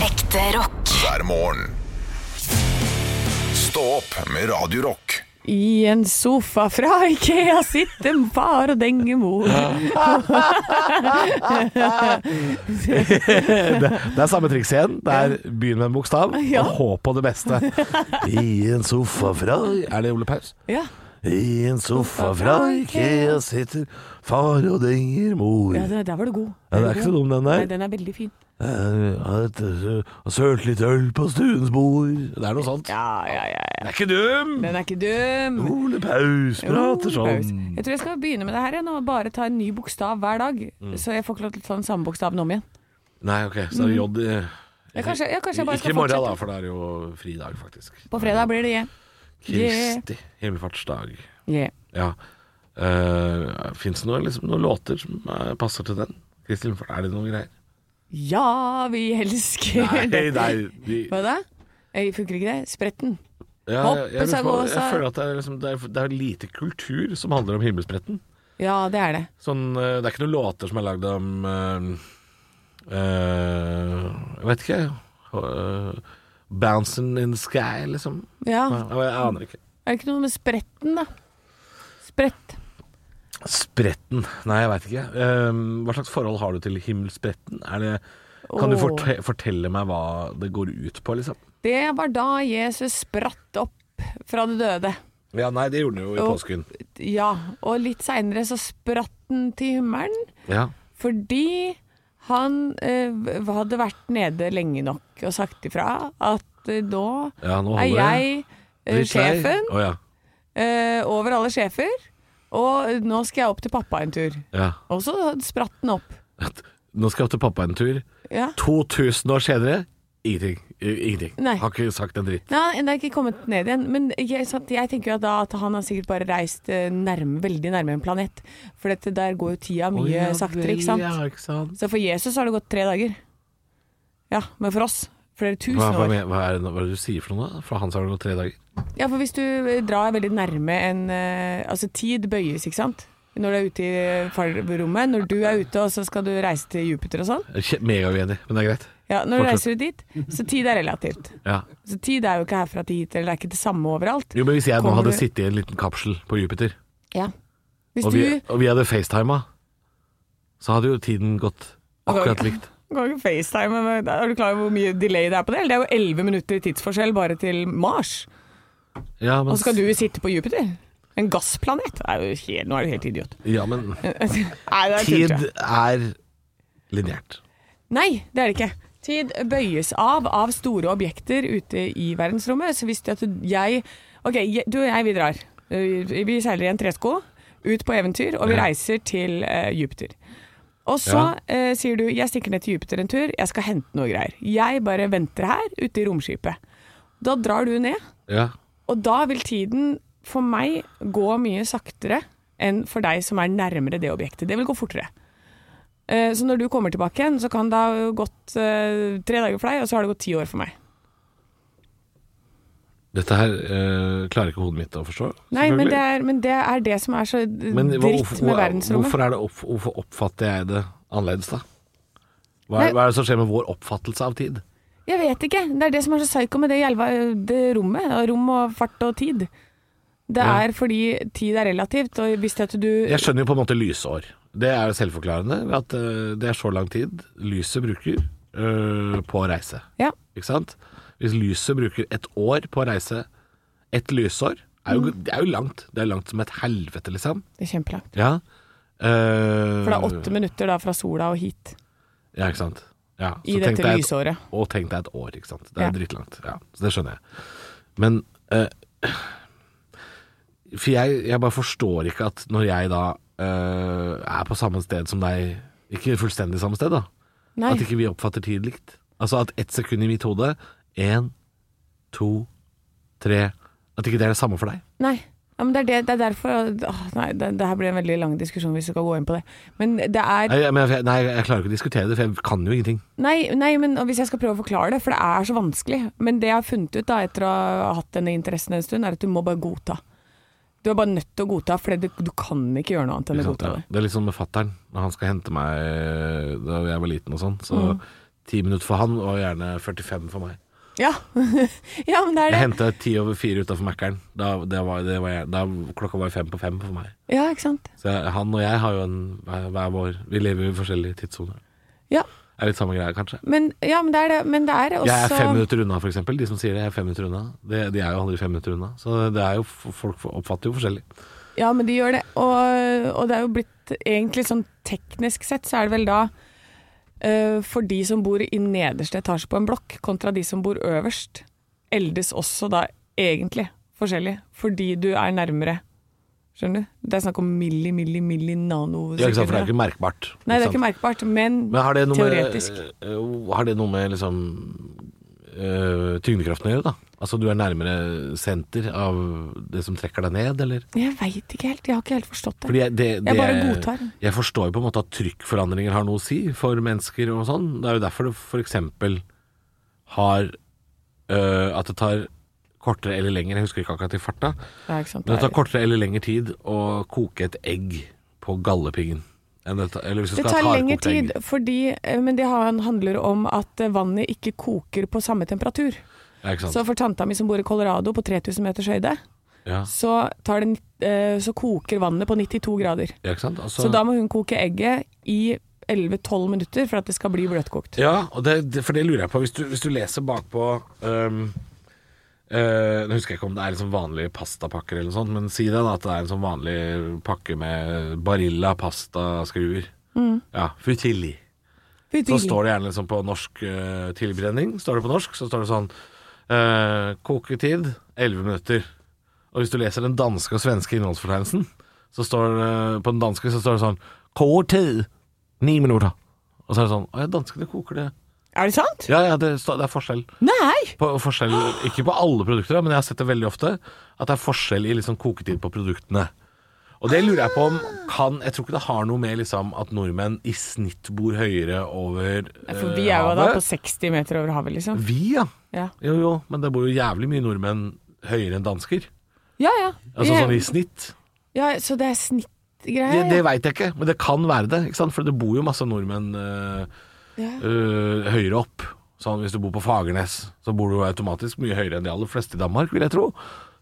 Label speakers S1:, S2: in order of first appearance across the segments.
S1: Ekte rock.
S2: hver morgen. Stå opp med Radio Rock.
S3: I en sofa fra Ikea sitter far og denger mor.
S4: Det er samme triks igjen. Det er begynn med en bokstav
S3: Ja.
S4: og håp på det beste. I en sofa fra Er det Ole Paus?
S3: Ja,
S4: I en sofa fra Ikea sitter far og denger mor.
S3: ja
S4: Ja,
S3: der, der var du god.
S4: det er ikke så dum, den
S3: Nei,
S4: der.
S3: den er veldig fin.
S4: eh, Har sølt litt øl på stuens bord. Det er noe sånt.
S3: Ja, ja, ja. ja.
S4: Det er ikke dum!
S3: Den er ikke dum.
S4: Ole Paus prater
S3: Jo, Paus.
S4: sånn.
S3: Jeg tror jeg skal begynne med det her igjen og bare ta en ny bokstav hver dag.
S4: Mm.
S3: Så jeg får ikke lov til å ta den samme bokstaven om igjen.
S4: Nei, ok, så er det J i-
S3: Jeg Mm. kanskje, jeg, kanskje jeg bare
S4: Ikke i
S3: skal
S4: morgen, da,
S3: fortsette.
S4: for da er det jo fridag, faktisk.
S3: På fredag blir det J. Yeah.
S4: Kristi himmelfartsdag.
S3: Yeah.
S4: Ja. Uh, Fins det noe, liksom, noen låter som eh, passer til den? Kristi himmelfart, er det noen greier?
S3: Ja, vi elsker
S4: Nei,
S3: det.
S4: nei de,
S3: Hva da? Eh, Funker ikke det? Spretten.
S4: ja,
S3: Hoppe,
S4: jeg, lurer på-
S3: sagosa.
S4: jeg føler at det er, liksom, det, er, det er lite kultur som handler om himmelspretten.
S3: Ja, det er det.
S4: Sånn, eh, det er ikke noen låter som er lagd om eh, eh, Jeg vet ikke. Uh, Bouncing in the sky, liksom.
S3: Ja.
S4: Nei, jeg aner ikke.
S3: Er det ikke noe med spretten, da? Sprett.
S4: Spretten? Nei, jeg veit ikke. Ehm, hva slags forhold har du til himmelspretten? Er det, kan du
S3: Åh.
S4: forte fortelle meg hva det går ut på, liksom?
S3: Det var da Jesus spratt opp fra det døde.
S4: Ja, nei, det gjorde den jo i
S3: Jo.
S4: påsken.
S3: Ja, og litt seinere så spratt den til himmelen
S4: Ja.
S3: fordi han eh, hadde vært nede lenge nok og sagt ifra at eh, nå
S4: Ja, nå
S3: er
S4: holder
S3: jeg eh,
S4: Litt lei.
S3: sjefen
S4: Å ja.
S3: eh, over alle sjefer, og nå skal jeg opp til pappa en tur.
S4: ja.
S3: Og så spratt den opp.
S4: Nå skal jeg til pappa en tur.
S3: Ja.
S4: 2000 år senere, ingenting. I- Ingenting.
S3: Nei.
S4: Har ikke sagt en dritt.
S3: Nei, det er ikke kommet ned igjen. Men jeg, sant, jeg tenker jo at da at han har sikkert bare reist eh, nærme, veldig nærme en planet. For dette, der går jo tida mye
S4: Å, ja,
S3: saktere,
S4: vel,
S3: ikke sant?
S4: Ja, ikke sant?
S3: Så for Jesus har det gått tre dager. Ja, men for oss flere tusen
S4: Hva,
S3: år.
S4: hva, men- hva, er det, nå- hva er det du sier for noe? da? For han sa det gått tre dager.
S3: Ja, for hvis du eh, drar veldig nærme en eh, Altså, tid bøyes, ikke sant? Når du er ute i eh, farrommet. Når du er ute, og så skal du reise til Jupiter og sånn.
S4: Jeg er kje- Megauenig, men det er greit.
S3: Ja, når du
S4: Fortsett.
S3: reiser dit, så tid er relativt.
S4: Ja.
S3: Så tid er jo ikke herfra til hit, eller det er ikke det samme overalt.
S4: Jo, men Hvis jeg nå
S3: Kommer
S4: hadde
S3: du-
S4: sittet i en liten kapsel på Jupiter
S3: Ja. Hvis
S4: og
S3: du
S4: vi, og vi hadde facetima, så hadde jo tiden gått akkurat likt.
S3: Du kan ikke facetime med Er du klar over hvor mye delay det er på det? Eller Det er jo 11 minutter i tidsforskjell bare til Mars.
S4: Ja, men,
S3: Og så skal du sitte på Jupiter. En gassplanet. Det er jo helt, nå er du helt idiot.
S4: ja, men
S3: Nei, det er tull,
S4: tid
S3: tror jeg.
S4: er lineært.
S3: Nei, det er det ikke. Tid bøyes av av store objekter ute i verdensrommet. Så hvis du at jeg OK, jeg- du og jeg, vi drar. Eh, Vi vi seiler i en tresko ut på eventyr, og vi
S4: Ja.
S3: reiser til eh, Jupiter. Og så eh, sier du 'jeg stikker ned til Jupiter en tur, jeg skal hente noe greier'. Jeg bare venter her ute i romskipet. Da drar du ned,
S4: Ja.
S3: og da vil tiden for meg gå mye saktere enn for deg som er nærmere det objektet. Det vil gå fortere. Eh, Så når du kommer tilbake igjen, så kan det ha gått eh, tre dager for deg, og så har det gått ti år for meg.
S4: Dette her eh, klarer ikke hodet mitt å forstå.
S3: Nei, men det
S4: selvfølgelig.
S3: er, men det, er det som er så eh,
S4: Men hva-
S3: dritt
S4: hvorfor-
S3: med
S4: hvor-
S3: verdensrommet.
S4: Hvorfor, er det opp, hvorfor oppfatter jeg det annerledes, da? Hva
S3: Nei.
S4: er, hva er det som skjer med vår oppfattelse av tid?
S3: Jeg vet ikke. Det er det som er så psyko med det jævla det rommet. og Rom og fart og tid. Det
S4: Ja.
S3: er fordi tid er relativt, og hvis det at du
S4: Jeg skjønner jo på en måte lysår. Det er jo selvforklarende ved at eh, det er så lang tid lyset bruker eh, på å reise.
S3: Ja.
S4: Ikke sant? Hvis lyset bruker et år på å reise ett lysår
S3: Mm.
S4: er jo, Det er jo langt. Det er langt som et helvete, liksom.
S3: Det er kjempelangt.
S4: Ja.
S3: For
S4: Eh,
S3: det er åtte minutter da fra sola og hit
S4: Ja, ikke sant. Ja.
S3: i
S4: så tenk
S3: dette
S4: deg et-
S3: lysåret.
S4: Og tenk deg et år, ikke sant. Det er
S3: Ja.
S4: dritlangt. Ja, så det skjønner jeg. Men eh, For jeg, jeg bare forstår ikke at når jeg da eh, er på samme sted som deg Ikke fullstendig samme sted, da.
S3: Nei.
S4: At ikke vi oppfatter tid likt. Altså at ett sekund i mitt hode Én, to, tre At ikke det er det samme for deg.
S3: Nei. Ja, men det, er det, det er derfor åh, Nei, det, det her blir en veldig lang diskusjon hvis vi skal gå inn på det. Men det er
S4: Nei, jeg, men jeg, nei, jeg klarer ikke å diskutere det, for jeg kan jo ingenting.
S3: Nei, nei men hvis jeg skal prøve å forklare det, for det er så vanskelig. Men det jeg har funnet ut da etter å ha hatt denne interessen en stund, er at du må bare godta. Du er bare nødt til å godta, for du, du kan ikke gjøre noe annet enn å
S4: Ikke sant?
S3: godta det.
S4: eh,
S3: Mm.
S4: Ja. Det er litt sånn med fattern. Når han skal hente meg da jeg var liten og sånn, så 10 minutter for han, og gjerne 45 for meg.
S3: Ja. ja, men det er
S4: Jeg
S3: det.
S4: henta ti over fire utafor Mækkern. Da, det var, det var, jeg- da klokka var fem på fem for meg.
S3: Ja, ikke sant.
S4: Så jeg, han og jeg har jo en hver hver vår Vi lever jo i forskjellige tidssoner.
S3: Ja,
S4: Det er litt samme greia, kanskje.
S3: men, ja, men det er det. Men det er også
S4: Jeg er fem minutter unna, f.eks. De som sier det, jeg er fem minutter unna. Det, de er jo aldri fem minutter unna. Så det er jo, folk oppfatter jo forskjellig.
S3: Ja, men de gjør det. Og, og det er jo blitt egentlig sånn teknisk sett, så er det vel da eh, for de som bor i nederste etasje på en blokk, kontra de som bor øverst, eldes også da egentlig forskjellig. Fordi du er nærmere. Skjønner du? Det er snakk om milli, milli, milli
S4: Ja, ikke sant? For
S3: nanosekunder.
S4: det er jo ikke merkbart.
S3: Nei, det er
S4: sant?
S3: ikke merkbart, men,
S4: Men har det noe
S3: teoretisk.
S4: med, øh, har det noe med liksom øh, tyngdekraften å gjøre, da? Altså du er nærmere senter av det som trekker deg ned, eller?
S3: Jeg veit ikke helt. Jeg har ikke helt forstått det.
S4: Fordi jeg, det, det,
S3: Jeg bare godtar.
S4: Jeg forstår jo på en måte at trykkforandringer har noe å si for mennesker og sånn. Det er jo derfor det f.eks. har øh, At det tar kortere eller lenger, jeg husker ikke akkurat i farta,
S3: Ja, ikke sant?
S4: men det tar kortere eller lengre tid å koke et egg på gallepiggen. enn det ta- eller hvis du
S3: Det
S4: skal ha et
S3: tar lengre
S4: hardkokt egg.
S3: tid, fordi, eh, men det han- handler om at eh, vannet ikke koker på samme temperatur.
S4: Ja, ikke sant?
S3: Så for tanta mi som bor i Colorado på 3000 meters høyde,
S4: ja.
S3: så, tar det, nitt- eh, så koker vannet på 92 grader.
S4: Ja, ikke sant? Altså,
S3: Så da må hun koke egget i 11-12 minutter for at det skal bli bløtkokt.
S4: Ja, og det, det, for det lurer jeg på. Hvis du, hvis du leser bakpå øhm, øh, Nå husker jeg ikke om det er liksom vanlige pastapakker eller noe sånt, men si det da at det er en sånn vanlig pakke med Barilla pastaskruer. Ja, futilli. Så står det gjerne liksom på norsk øh, tilbrenning, står det på norsk, så står det sånn øh, Koketid 11 minutter. Og hvis du leser den danske og svenske innholdsfortegnelsen, så står det på den danske så står det sånn Koketid 9 minutter. Og så er det sånn Å ja, danskene koker det
S3: Er det sant?
S4: Ja ja, det, står- det er forskjell.
S3: Nei!
S4: På, forskjell. Ikke på alle produkter, da, men jeg har sett det veldig ofte. At det er forskjell i liksom koketid på produktene. Og det lurer jeg på om kan Jeg tror ikke det har noe med liksom at nordmenn i snitt bor høyere over
S3: For
S4: eh,
S3: vi er jo da på
S4: havet. Mm.
S3: 60 meter over havet, liksom.
S4: Vi, ja.
S3: Ja
S4: Jo, jo, men det bor jo jævlig mye nordmenn høyere enn dansker.
S3: ja. ja.
S4: Altså
S3: Vi er-
S4: sånn i snitt.
S3: ja så det er snittgreier?
S4: Det, det veit jeg ikke, men det kan være det. Ikke sant? For det bor jo masse nordmenn eh,
S3: ja.
S4: øh, høyere opp. Sånn, hvis du bor på Fagernes, så bor du jo automatisk mye høyere enn de aller fleste i Danmark, vil jeg tro.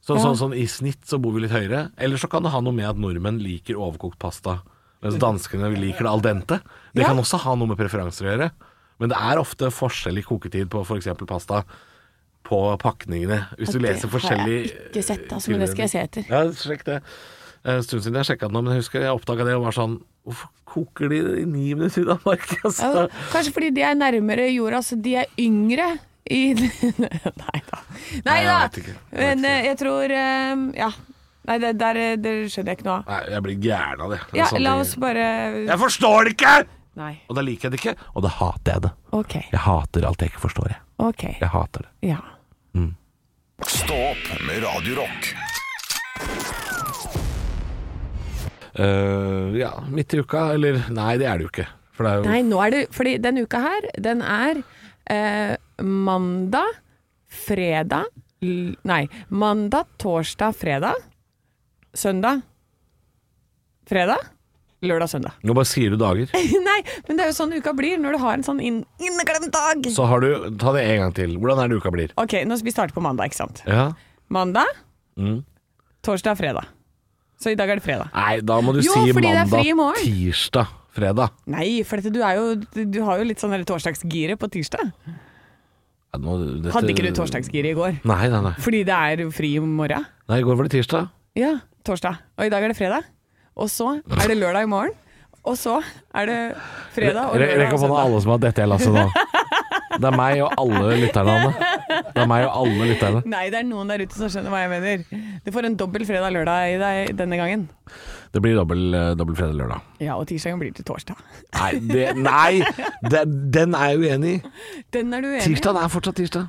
S4: Så,
S3: Ja.
S4: sånn, sånn i snitt så bor vi litt høyere. Eller så kan det ha noe med at nordmenn liker overkokt pasta, mens danskene liker det al dente. Det
S3: Ja.
S4: kan også ha noe med preferanser å gjøre. Men det er ofte forskjell i koketid på f.eks. pasta på pakningene. Hvis du
S3: Ja, det
S4: leser eh,
S3: har jeg
S4: forskjellig
S3: ikke sett, altså, men det skal jeg se etter.
S4: Ja, sjekk det. Det er En stund siden jeg sjekka det nå, men jeg husker jeg oppdaga det og var sånn Hvorfor koker de det i ni minutter i Danmark? Altså?
S3: Ja, kanskje fordi de er nærmere jorda, så de er yngre i Nei da. Nei
S4: Nei, jeg
S3: da!
S4: vet ikke. Jeg vet
S3: Men eh, jeg tror eh, Ja. Nei, det, der, eh, det skjønner jeg ikke noe av.
S4: Nei, jeg blir gæren av det. Det er sånn
S3: Ja,
S4: sånne
S3: la
S4: ting.
S3: oss bare
S4: Jeg forstår det ikke!
S3: Nei.
S4: Og da liker jeg det ikke, og da hater jeg det.
S3: OK.
S4: Jeg hater alt jeg ikke forstår, jeg.
S3: ok,
S4: Jeg hater det.
S3: Ja.
S2: Stå opp med Radio Rock.
S4: Eh, ja, midt i uka, eller Nei, det er det jo ikke. For det er jo
S3: Nei, nå er det Fordi denne uka her, den er eh, mandag, fredag l- Nei. Mandag, torsdag, fredag. Søndag. Fredag. Lørdag, søndag.
S4: Nå bare sier du dager.
S3: Nei, men det er jo sånn uka blir når du har en sånn inn inneklemt dag.
S4: Så har du Ta det en gang til. Hvordan er det uka blir?
S3: Ok, nå vi starter på mandag, ikke sant?
S4: Ja.
S3: Mandag,
S4: Mm.
S3: torsdag, fredag. Så i dag er det fredag.
S4: Nei, da må du
S3: Jo,
S4: si
S3: fordi det er
S4: mandag,
S3: fri i morgen.
S4: tirsdag, fredag.
S3: Nei, for dette, du, er jo, du- du har jo litt sånn der torsdagsgiret på tirsdag.
S4: Ja, nå- dette-
S3: Hadde ikke du torsdagsgiret i går?
S4: Nei, nei, nei.
S3: Fordi det er jo fri i morgen.
S4: Nei, I går var det tirsdag.
S3: Ja, torsdag. Og i dag er det fredag. Og så er det lørdag i morgen. Og så er det fredag og
S4: Re- Rekk
S3: lørdag og
S4: opp hånda
S3: søndag.
S4: alle som har dette i lasset nå. Det er meg og alle lytterne, Anne. Det er meg og alle lytterne.
S3: Nei, det er noen der ute som skjønner hva jeg mener. Du får en dobbel fredag lørdag i deg denne gangen.
S4: Det blir dobbel, eh, dobbel fredag lørdag.
S3: Ja, og tirsdagen blir til torsdag.
S4: Nei, det, nei det, den er jeg uenig i.
S3: Den er du enig i?
S4: Tirsdag er fortsatt tirsdag.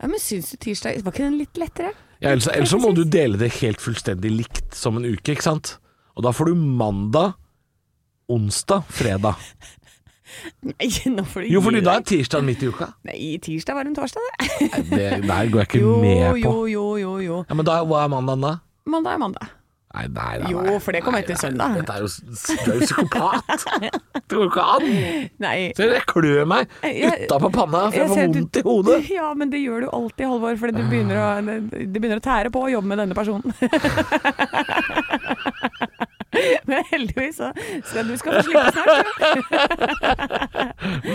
S3: Ja, men syns du tirsdag Var ikke den litt lettere?
S4: Ja, ellers, ellers så må du dele det helt fullstendig likt som en uke, ikke sant? Og da får du mandag, onsdag, fredag.
S3: Nei, nå får du
S4: Jo, fordi
S3: gi
S4: da er
S3: deg.
S4: tirsdag midt i uka.
S3: Nei, tirsdag var en torsdag, det.
S4: Nei, Det der går jeg ikke
S3: Jo,
S4: med på.
S3: jo, jo, jo, jo.
S4: Ja, Men da, hva er mandagen da?
S3: Mandag er mandag.
S4: Nei, nei, nei, nei.
S3: Jo, for det kommer
S4: Nei,
S3: etter
S4: nei,
S3: søndag.
S4: Dette er jo, s- du er jo psykopat! Det går jo ikke an!
S3: Nei.
S4: Ser du, jeg klør meg
S3: Jeg-
S4: utapå panna, for jeg
S3: ser
S4: får
S3: at du-
S4: vondt i hodet. Ah.
S3: Ja, men det gjør du alltid, Halvor, fordi det begynner å, det det begynner å tære på å jobbe med denne personen. men heldigvis så skal du skal få slippe snart.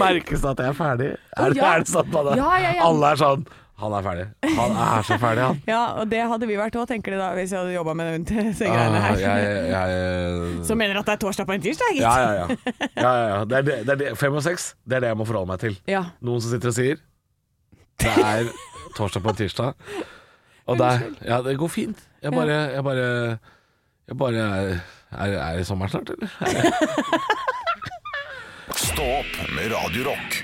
S4: Merkes det at jeg er ferdig?
S3: Å,
S4: Er det,
S3: ja.
S4: er det sånn man er?
S3: Ja, ja, ja.
S4: Alle er sånn Han er ferdig. Han er så ferdig, han.
S3: Ja, og det hadde vi vært òg, tenker de da, hvis jeg hadde jobba med de greiene
S4: Ah,
S3: her.
S4: jeg, jeg,
S3: Som mener at det er torsdag på en tirsdag, gitt.
S4: ja, ja, ja. ja, ja, ja. Det er det, det er det. Fem og seks, det er det jeg må forholde meg til.
S3: Ja.
S4: Noen som sitter og sier Det er torsdag på en tirsdag. Og det, er- ja, det går fint. Jeg bare Jeg bare, jeg bare er, er, er det sommer snart, eller?
S2: Stå opp med Radio Rock.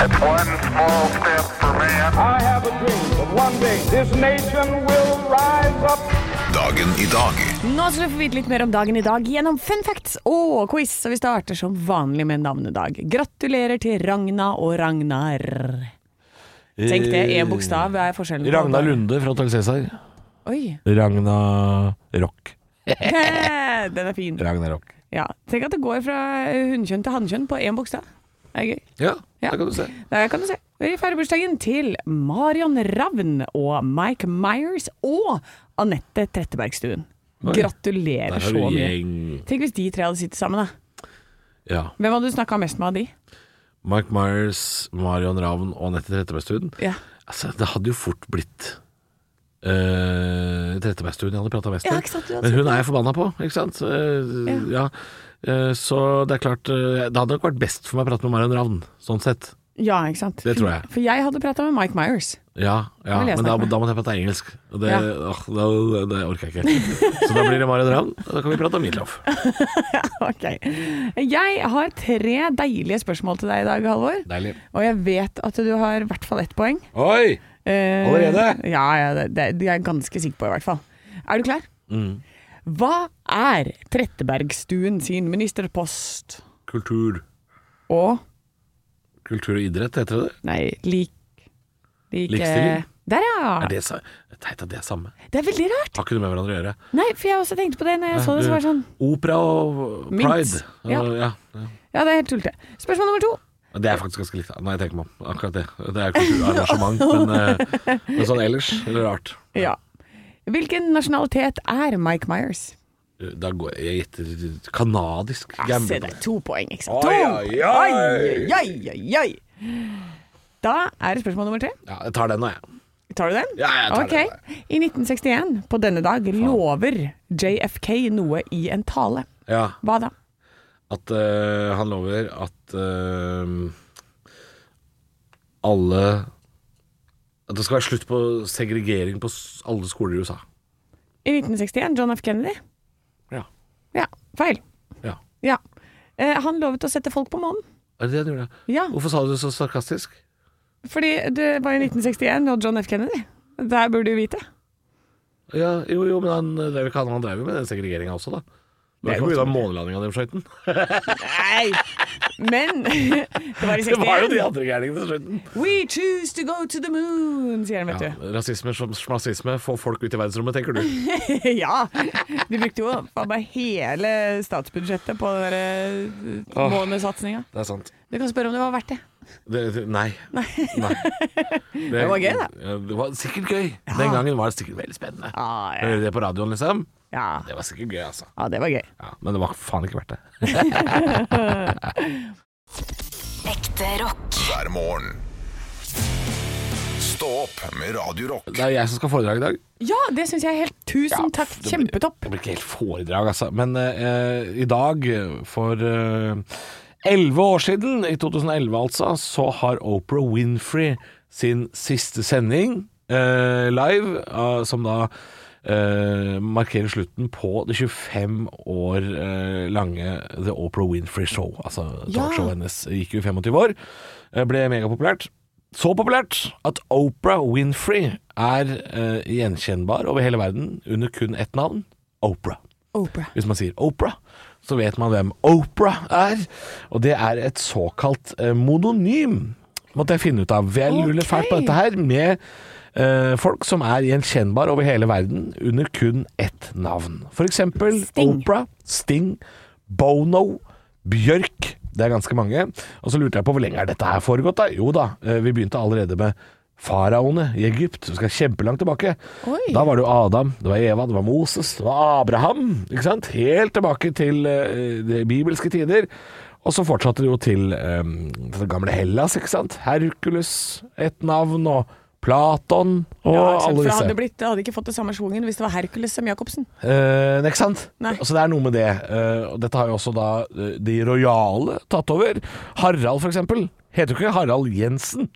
S1: It's one small step for man.
S5: I have a dream that one day this nation will rise up.
S2: Dagen i dag.
S3: Nå skal du få vite litt mer om dagen i dag gjennom fun facts og quiz. Og vi starter som vanlig med navnedag. Gratulerer til Ragna og Ragnar. Tenk det,
S4: Eh,
S3: én bokstav er forskjellen. på-
S4: Ragna Lunde fra Hotell Cæsar.
S3: Oi,
S4: Ragna Rock.
S3: den er fin.
S4: Ragna Rock.
S3: Ja. Tenk at det går fra hunnkjønn til hannkjønn på én bokstav. Det er gøy.
S4: Ja,
S3: Ja.
S4: det kan du se.
S3: Der kan du se. Vi feirer bursdagen til Marion Ravn og Mike Myers og Anette Trettebergstuen.
S4: Oi.
S3: Gratulerer
S4: Der har
S3: så
S4: du
S3: mye.
S4: gjeng.
S3: Tenk hvis de tre hadde sittet sammen, da.
S4: Ja.
S3: Hvem hadde du snakka mest med av de?
S4: Mike Myers, Marion Ravn og Anette Trettebergstuen.
S3: Ja.
S4: Altså, det hadde jo fort blitt uh, Trettebergstuen jeg hadde prata mest
S3: Ja,
S4: med.
S3: ikke sant, du hadde
S4: Men
S3: sagt
S4: hun er jeg forbanna på, ikke sant. Eh, ja. Eh, så det er klart eh, Det hadde nok vært best for meg å prate med Marion Ravn, sånn sett.
S3: Ja, ikke sant?
S4: Det tror jeg.
S3: For jeg hadde prata med Mike Myers.
S4: Ja, ja
S3: Da vil jeg
S4: men da,
S3: snakke med.
S4: da måtte jeg prate engelsk. Og det,
S3: Ja.
S4: åh, da, det, det orker jeg ikke. Så da blir det Marion Ravn, og da kan vi prate om Midtloff.
S3: Ok. Jeg har tre deilige spørsmål til deg i dag, Halvor.
S4: Deilig.
S3: Og jeg vet at du har i hvert fall ett poeng.
S4: Oi!
S3: Eh,
S4: Allerede?
S3: Ja, ja det, det det er jeg ganske sikker på, i hvert fall. Er du klar?
S4: Mm.
S3: Hva er Trettebergstuen sin ministerpost
S4: Kultur.
S3: og
S4: Kultur og idrett, heter det det?
S3: Nei, lik, like-
S4: Likestilling?
S3: Der, ja.
S4: Er
S3: Det?
S4: det, Ah. sa- Teit at det er samme.
S3: er veldig rart.
S4: Har ikke noe med hverandre å gjøre.
S3: Nei, for jeg også tenkte på det når jeg så det. Så var det sånn
S4: Opera og
S3: Mint.
S4: pride.
S3: Ja.
S4: Og- Ja. ja.
S3: Ja, det er helt tullete. Spørsmål nummer to.
S4: Det er faktisk ganske likt. Nei, jeg tenker meg om. Akkurat det. Det er kulturarrangement, men, eh, men sånn ellers er det rart.
S3: Ja. Hvilken nasjonalitet er Mike Myers?
S4: Da går jeg gjetter kanadisk.
S3: Ja,
S4: Gambler
S3: se
S4: på
S3: der,
S4: det.
S3: to poeng, ikke sant?
S4: Oi,
S3: To
S4: oi,
S3: poeng.
S4: oi.
S3: Oi, oi, oi, oi. Da er det spørsmål nummer tre.
S4: Ja, jeg tar den nå, jeg.
S3: Tar du den?
S4: Ja, jeg tar
S3: Ok. I 1961, på denne dag, lover JFK noe i en tale.
S4: Ja.
S3: Hva da?
S4: At eh, han lover at eh, alle At det skal være slutt på segregering på s- alle skoler i USA.
S3: I 1961, John F. Kennedy?
S4: Ja.
S3: Ja, feil.
S4: ja.
S3: Ja. Eh, han lovet å sette folk på månen.
S4: Er det det han gjorde?
S3: Ja.
S4: Hvorfor sa du det så sarkastisk?
S3: Fordi det var i 1961, og John F. Kennedy. Det her burde du vite.
S4: Ja, jo, jo, men han drev ikke han, han drev jo med den segregeringa også, da. Det var ikke pga. månelandinga den skøyten.
S3: Nei! Men det var i 61.
S4: Det var jo de andre gærningene til skøyten.
S3: We choose to go to the moon, sier han, vet
S4: Ja, rasisme som smasisme, få folk ut i verdensrommet, tenker du.
S3: du. ja. De brukte jo faen meg hele statsbudsjettet på den der eh,
S4: Åh.
S3: månesatsinga.
S4: Det er sant.
S3: Du kan spørre om det var verdt det.
S4: Det, det, nei. nei. Det,
S3: var gøy, da.
S4: Ja, Det var sikkert gøy. Den gangen var det sikkert veldig spennende.
S3: Ah, ja.
S4: Høre det på radioen, liksom.
S3: Ja.
S4: Det var sikkert gøy, altså.
S3: ja, det var gøy.
S4: Ja, men det var faen ikke verdt det.
S6: Ekte rock.
S2: hver morgen. Stå opp med Radio Rock.
S4: Det er jeg som skal ha foredrag i dag.
S3: Ja, det syns jeg er helt Tusen
S4: Ja,
S3: takk.
S4: det blir-
S3: Kjempetopp.
S4: Det blir ikke helt foredrag, altså. Men eh, i dag, for eh, elleve år siden, i 2011 altså, så har Oprah Winfrey sin siste sending eh, live, ah, som da eh, markerer slutten på det 25 år eh, lange The Oprah Winfrey Show. Altså
S3: Ja.
S4: talkshowet hennes gikk jo i 25 år. eh, Ble megapopulært. Så populært at Oprah Winfrey er eh, gjenkjennbar over hele verden under kun ett navn Oprah.
S3: Oprah.
S4: Hvis man sier Oprah, så vet man hvem Oprah er. Og det er et såkalt eh, mononym. måtte jeg finne ut av. Jeg lurer
S3: Ok.
S4: fælt på dette her med eh, folk som er gjenkjennbare over hele verden under kun ett navn. For eksempel
S3: Sting.
S4: Opera, Sting, Bono, Bjørk. Det er ganske mange. Og så lurte jeg på hvor lenge er dette her foregått, da? Jo da, eh, vi begynte allerede med Faraoene i Egypt, du skal kjempelangt tilbake.
S3: Oi.
S4: Da var det jo Adam, det var Eva, det var Moses, det var Abraham. ikke sant? Helt tilbake til eh, de bibelske tider. Og så fortsatte det jo til eh, det gamle Hellas, ikke sant. Hercules, et navn, og Platon og
S3: Ja, ikke sant,
S4: alle
S3: for jeg
S4: disse.
S3: hadde, blitt, jeg hadde ikke fått det samme schwungen hvis det var Hercules som Jacobsen.
S4: Eh, ikke sant?
S3: Nei.
S4: Så det er noe med det. Eh, og dette har jo også da eh, de rojale tatt over. Harald, for eksempel, heter jo ikke Harald Jensen.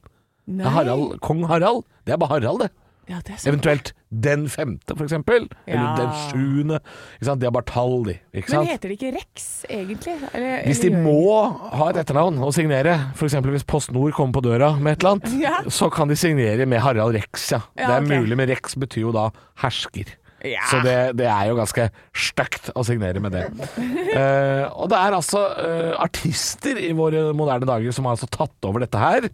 S4: Det
S3: Nei.
S4: er Harald, Kong Harald. Det er bare Harald, det.
S3: Ja, det er sant.
S4: Eventuelt den femte, for eksempel. Eller
S3: Ja.
S4: den sjuende. Ikke sant? De har bare tall, de. Ikke
S3: Men
S4: sant?
S3: heter det ikke Rex, egentlig? Eller,
S4: Hvis de
S3: eh, eller gjør
S4: må ha et etternavn å signere, f.eks. hvis Post Nord kommer på døra med et eller annet,
S3: Ja.
S4: så kan de signere med Harald Rex, ja.
S3: Ja,
S4: det er
S3: ok.
S4: mulig, men Rex betyr jo da hersker.
S3: Ja.
S4: Så det, det er jo ganske stygt å signere med det. Eh, og det er altså eh, artister i våre moderne dager som har altså tatt over dette her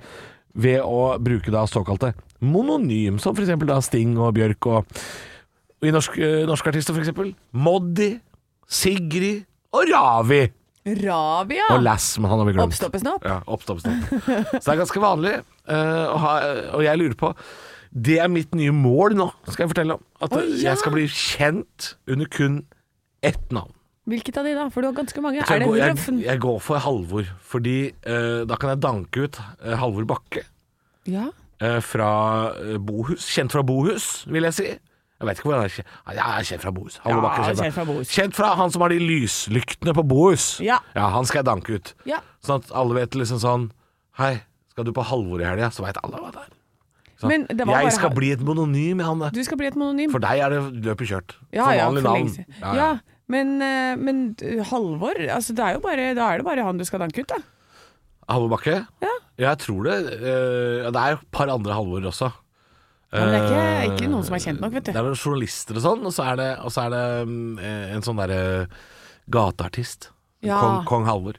S4: ved å bruke da såkalte mononym, som f.eks. da Sting og Bjørk og, og i norsk, eh, norske artister f.eks. Moddi, Sigrid og Ravi.
S3: Rabia!
S4: Og Lass, men han har vi glemt.
S3: Oppstoppesnopp.
S4: Ja, oppstoppesnopp. Så det er ganske vanlig, eh, å ha, og jeg lurer på Det er mitt nye mål nå, skal jeg fortelle om. At
S3: Å, ja.
S4: jeg skal bli kjent under kun ett navn.
S3: Hvilket av de, da? For du har ganske mange.
S4: Så
S3: Er
S4: jeg,
S3: det
S4: går, jeg,
S3: Rolfen?
S4: jeg går for Halvor, fordi eh, da kan jeg danke ut eh, Halvor Bakke
S3: Ja.
S4: eh, fra eh, Bohus. Kjent fra Bohus, vil jeg si. Jeg vet ikke hvor han er kjent. Ja, jeg er kjent fra Bohus. Halvor
S3: Ja,
S4: Bakke er
S3: kjent fra Bohus.
S4: Kjent fra han som har de lyslyktene på Bohus.
S3: Ja.
S4: han skal jeg danke ut.
S3: Ja.
S4: Sånn at alle vet liksom sånn Hei, skal du på Halvor i helga? Så veit alle hva det er. Sånn.
S3: Men det var
S4: jeg
S3: bare-
S4: skal bli et mononym, jeg, Hanne.
S3: Du skal bli et mononym.
S4: For deg er det løpet kjørt.
S3: ja,
S4: for
S3: ja,
S4: vanlig
S3: for
S4: navn.
S3: lenge siden. Ja, men, eh, men eh, Halvor altså, det er jo bare, Da er det bare han du skal danke ut, da.
S4: Halvor Bakke?
S3: Ja.
S4: Jeg tror det. eh, ja, det er jo et par andre Halvor også.
S3: Ja, men det er
S4: Eh,
S3: ikke, ikke noen som er kjent nok, vet
S4: Det
S3: du.
S4: er vel journalister og sånn, og så er det, og så er det mm, eh, en sånn derre gateartist.
S3: Ja.
S4: Kong, Kong Halvor.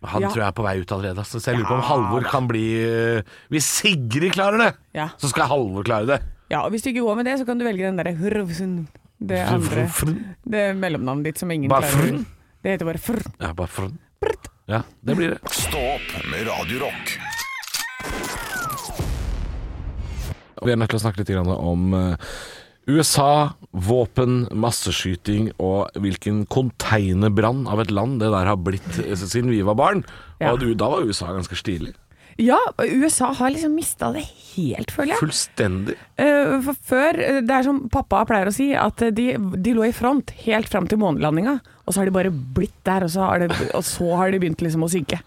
S4: Men Han
S3: Ja.
S4: tror jeg er på vei ut allerede. ass. Så jeg lurer på om Halvor kan bli eh, Hvis Sigrid klarer det,
S3: Ja.
S4: så skal Halvor klare det.
S3: Ja, og Hvis du ikke går med det, så kan du velge den derre Hrvsund. Det andre Det er mellomnavnet ditt som ingen
S4: Bare
S3: klarer.
S4: frun?
S3: Det heter bare frun.
S4: Ja, bare for Ja, det blir det.
S2: Stå opp med Radio Rock.
S4: Vi er nødt til å snakke litt grann om eh, USA, våpen, masseskyting og hvilken konteinerbrann av et land det der har blitt eh, siden vi var barn.
S3: Ja.
S4: Og du, da var USA ganske stilig.
S3: Ja, USA har liksom mista det helt, føler jeg.
S4: Fullstendig.
S3: Eh, For før, eh, det er som pappa pleier å si, at eh, de, de lå i front helt fram til månelandinga. Og så har de bare blitt der, og så har, det, og så har de begynt liksom å synke.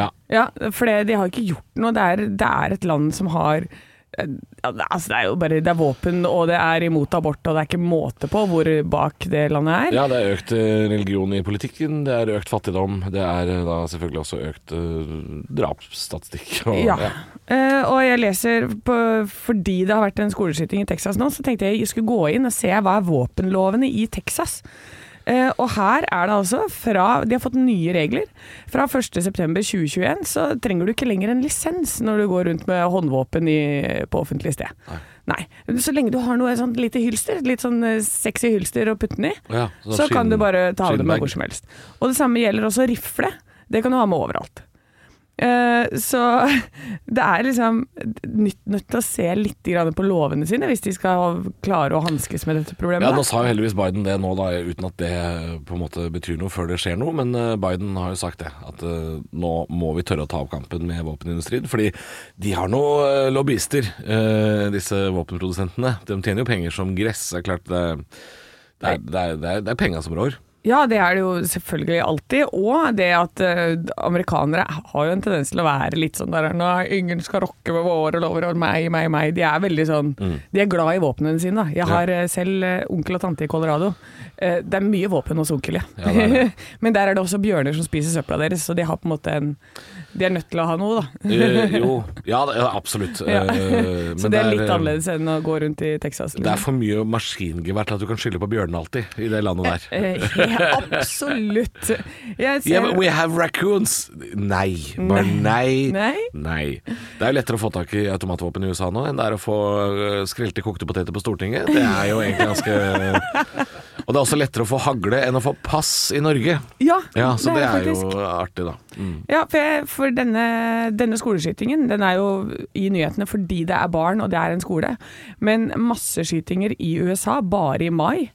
S4: Ja.
S3: Ja, for det, de har ikke gjort noe. Det er, det er et land som har eh, ja, det- Altså, det er jo bare Det er våpen, og det er imot abort, og det er ikke måte på hvor bak det landet er.
S4: Ja, det er økt eh, religion i politikken, det er økt fattigdom, det er eh, da selvfølgelig også økt eh, drapsstatistikk. og-
S3: Ja.
S4: ja.
S3: Eh, og jeg leser på, fordi det har vært en skoleskyting i Texas nå, så tenkte jeg jeg skulle gå inn og se hva er våpenlovene i Texas. Eh, og her er det altså fra De har fått nye regler. Fra 1.9.2021 så trenger du ikke lenger en lisens når du går rundt med håndvåpen i, på offentlig sted. Nei. Så lenge du har noe sånt lite hylster, et litt sånn eh, sexy hylster å putte den i,
S4: Ja, sånn
S3: så kan
S4: skinn-
S3: du bare ta av det med
S4: skinnbag.
S3: hvor som helst. Og det samme gjelder også rifle. Det kan du ha med overalt. Eh, så det er liksom nytt, nødt til å se litt grann på lovene sine hvis de skal klare å hanskes med dette problemet.
S4: Ja, Nå sa jo heldigvis Biden det nå, da, uten at det eh, på en måte betyr noe før det skjer noe. Men eh, Biden har jo sagt det, at eh, nå må vi tørre å ta opp kampen med våpenindustrien. Fordi de har nå eh, lobbyister, eh, disse våpenprodusentene. De tjener jo penger som gress. Det er klart det, det er, det er, det er, det er penga som rår.
S3: Ja, det er det jo selvfølgelig alltid. Og det at eh, amerikanere har jo en tendens til å være litt sånn der Nei, ingen skal rokke ved våre lover og meg, meg, meg. De er veldig sånn
S4: Mm.
S3: De er glad i våpnene sine, da. Jeg har eh, selv eh, onkel og tante i Colorado. Eh, Det er mye våpen hos onkel, ja.
S4: Ja, det er det.
S3: Men der er det også bjørner som spiser søpla deres, så de har på en måte en De er nødt til å ha noe, da.
S4: Eh, jo, ja, det- ja absolutt.
S3: Ja.
S4: Eh,
S3: Så
S4: men
S3: det er litt
S4: eh,
S3: annerledes enn å gå rundt i Texas. liksom.
S4: Det er for mye maskingevær til at du kan skylde på bjørnene alltid, i det landet der.
S3: Eh, absolutt. Jeg
S4: Yeah,
S3: ser
S4: but we have raccoons. Nei. Bare nei.
S3: Nei.
S4: Nei. Det er jo lettere å få tak i automatvåpen i USA nå enn det er å få øh, skrelte kokte poteter på Stortinget. Det er jo egentlig ganske Og det er også lettere å få hagle enn å få pass i Norge.
S3: Ja,
S4: Ja, så det er,
S3: faktisk-
S4: jo artig, da. Mm.
S3: Ja, for, jeg, for denne, denne skoleskytingen den er jo i nyhetene fordi det er barn og det er en skole. Men masseskytinger i USA bare i mai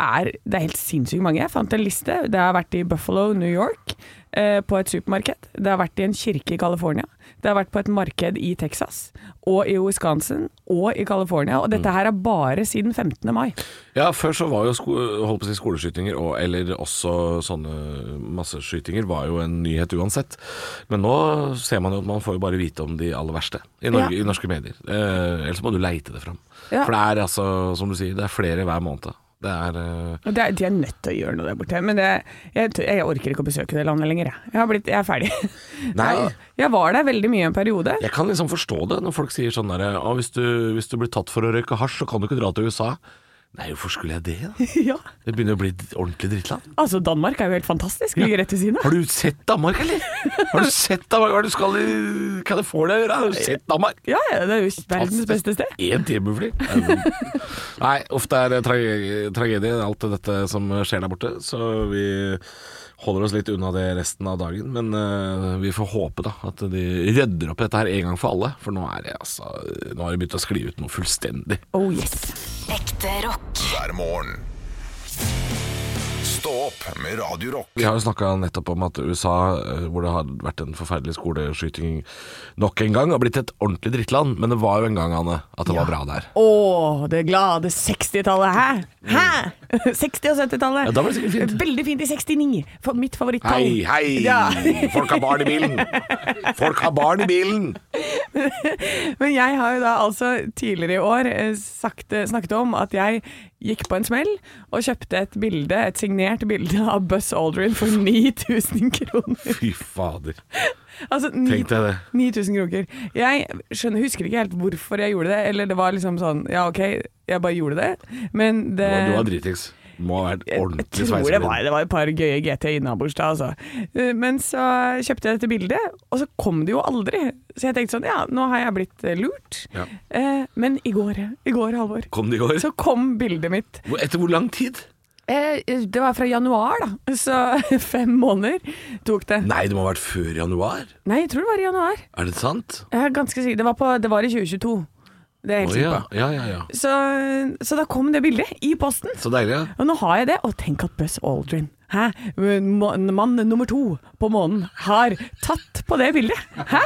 S3: er Det er helt sinnssykt mange. Jeg fant en liste. Det har vært i Buffalo, New York, eh, på et supermarked. Det har vært i en kirke i California. Det har vært på et marked i Texas, og i Wisconsin, og i California. Og dette her er bare siden 15. mai.
S4: Ja, før så var jo sko holdt på å si skoleskytinger, og, eller også sånne masseskytinger, var jo en nyhet uansett. Men nå ser man jo at man får jo bare vite om de aller verste i, Norge,
S3: Ja.
S4: i norske medier. Eh, ellers må du leite det fram.
S3: Ja.
S4: For det er altså, som du sier, det er flere hver måned. Det er eh,
S3: Og det er, de er nødt til å gjøre noe der borte. Men det, jeg, tør- jeg orker ikke å besøke det landet lenger, jeg. Jeg, har blitt, jeg er ferdig.
S4: Nei.
S3: Jeg, jeg var der veldig mye en periode.
S4: Jeg kan liksom forstå det når folk sier sånn derre Å, hvis du, hvis du blir tatt for å røyke hasj, så kan du ikke dra til USA. Nei, hvorfor skulle jeg det? da?
S3: Ja.
S4: Det begynner å bli et ordentlig drittland.
S3: Altså, Danmark er jo helt fantastisk. Ligger rett ved siden av.
S4: Har du sett Danmark, eller? Har du sett Danmark? Hva er det du skal i California gjøre? Har du sett Danmark?
S3: Ja, ja, det er jo verdens beste sted.
S4: Én timefly? Nei, ofte er det trage- tragedie, alt dette som skjer der borte. Så vi holder oss litt unna det resten av dagen. Men eh, vi får håpe da at de rydder opp i dette her en gang for alle. For nå er det altså Nå har det begynt å skli ut noe fullstendig.
S3: Oh yes.
S6: Ekte rock.
S2: hver morgen. Stå opp med Radio Rock.
S4: Vi har jo snakka nettopp om at USA, eh, hvor det har vært en forferdelig skoleskyting nok en gang, har blitt et ordentlig drittland. Men det var jo en gang, Anne, at det var bra der.
S3: Å, det glade 60-tallet. Hæ? Hæ? 60- og 70-tallet.
S4: Mm. Ja, da var det sikkert fint.
S3: Veldig fint i 69. For mitt favorittall.
S4: Hei, hei!
S3: Ja.
S4: Folk har barn i bilen! Folk har barn i bilen!
S3: Men jeg har jo da altså tidligere i år eh, sagt, snakket om at jeg gikk på en smell og kjøpte et bilde, et signert bilde av Buzz Aldrin for 9000 kroner.
S4: Fy fader.
S3: Altså ni-
S4: Tenk deg det.
S3: 9000 kroner. Jeg skjønner, husker ikke helt hvorfor jeg gjorde det, eller det var liksom sånn ja ok, jeg bare gjorde det, men det
S4: Du var dritings. Må ha vært
S3: jeg
S4: ordentlig
S3: tror det var,
S4: sveiseblind.
S3: det var et par gøye GT innabords da, altså. Eh, Men så kjøpte jeg dette bildet, og så kom det jo aldri. Så jeg tenkte sånn, ja, nå har jeg blitt eh, lurt.
S4: Ja.
S3: Eh, men i går, i går, Halvor,
S4: Kom det i går?
S3: så kom bildet mitt.
S4: Hvor- Etter hvor lang tid?
S3: Eh, det var fra januar, da. Så fem måneder tok det.
S4: Nei, det må ha vært før januar.
S3: Nei, jeg tror det var i januar.
S4: Er det sant?
S3: Jeg er ganske sikker. Det var, på, det var i 2022. Det er jeg
S4: Å
S3: helt sikker
S4: ja.
S3: på.
S4: ja, ja, ja.
S3: Så, så da kom det bildet i posten.
S4: Så deilig, ja.
S3: Og nå har jeg det, og tenk at Buzz Aldrin, hæ, Må- mann nummer to på månen, har tatt på det bildet. Hæ?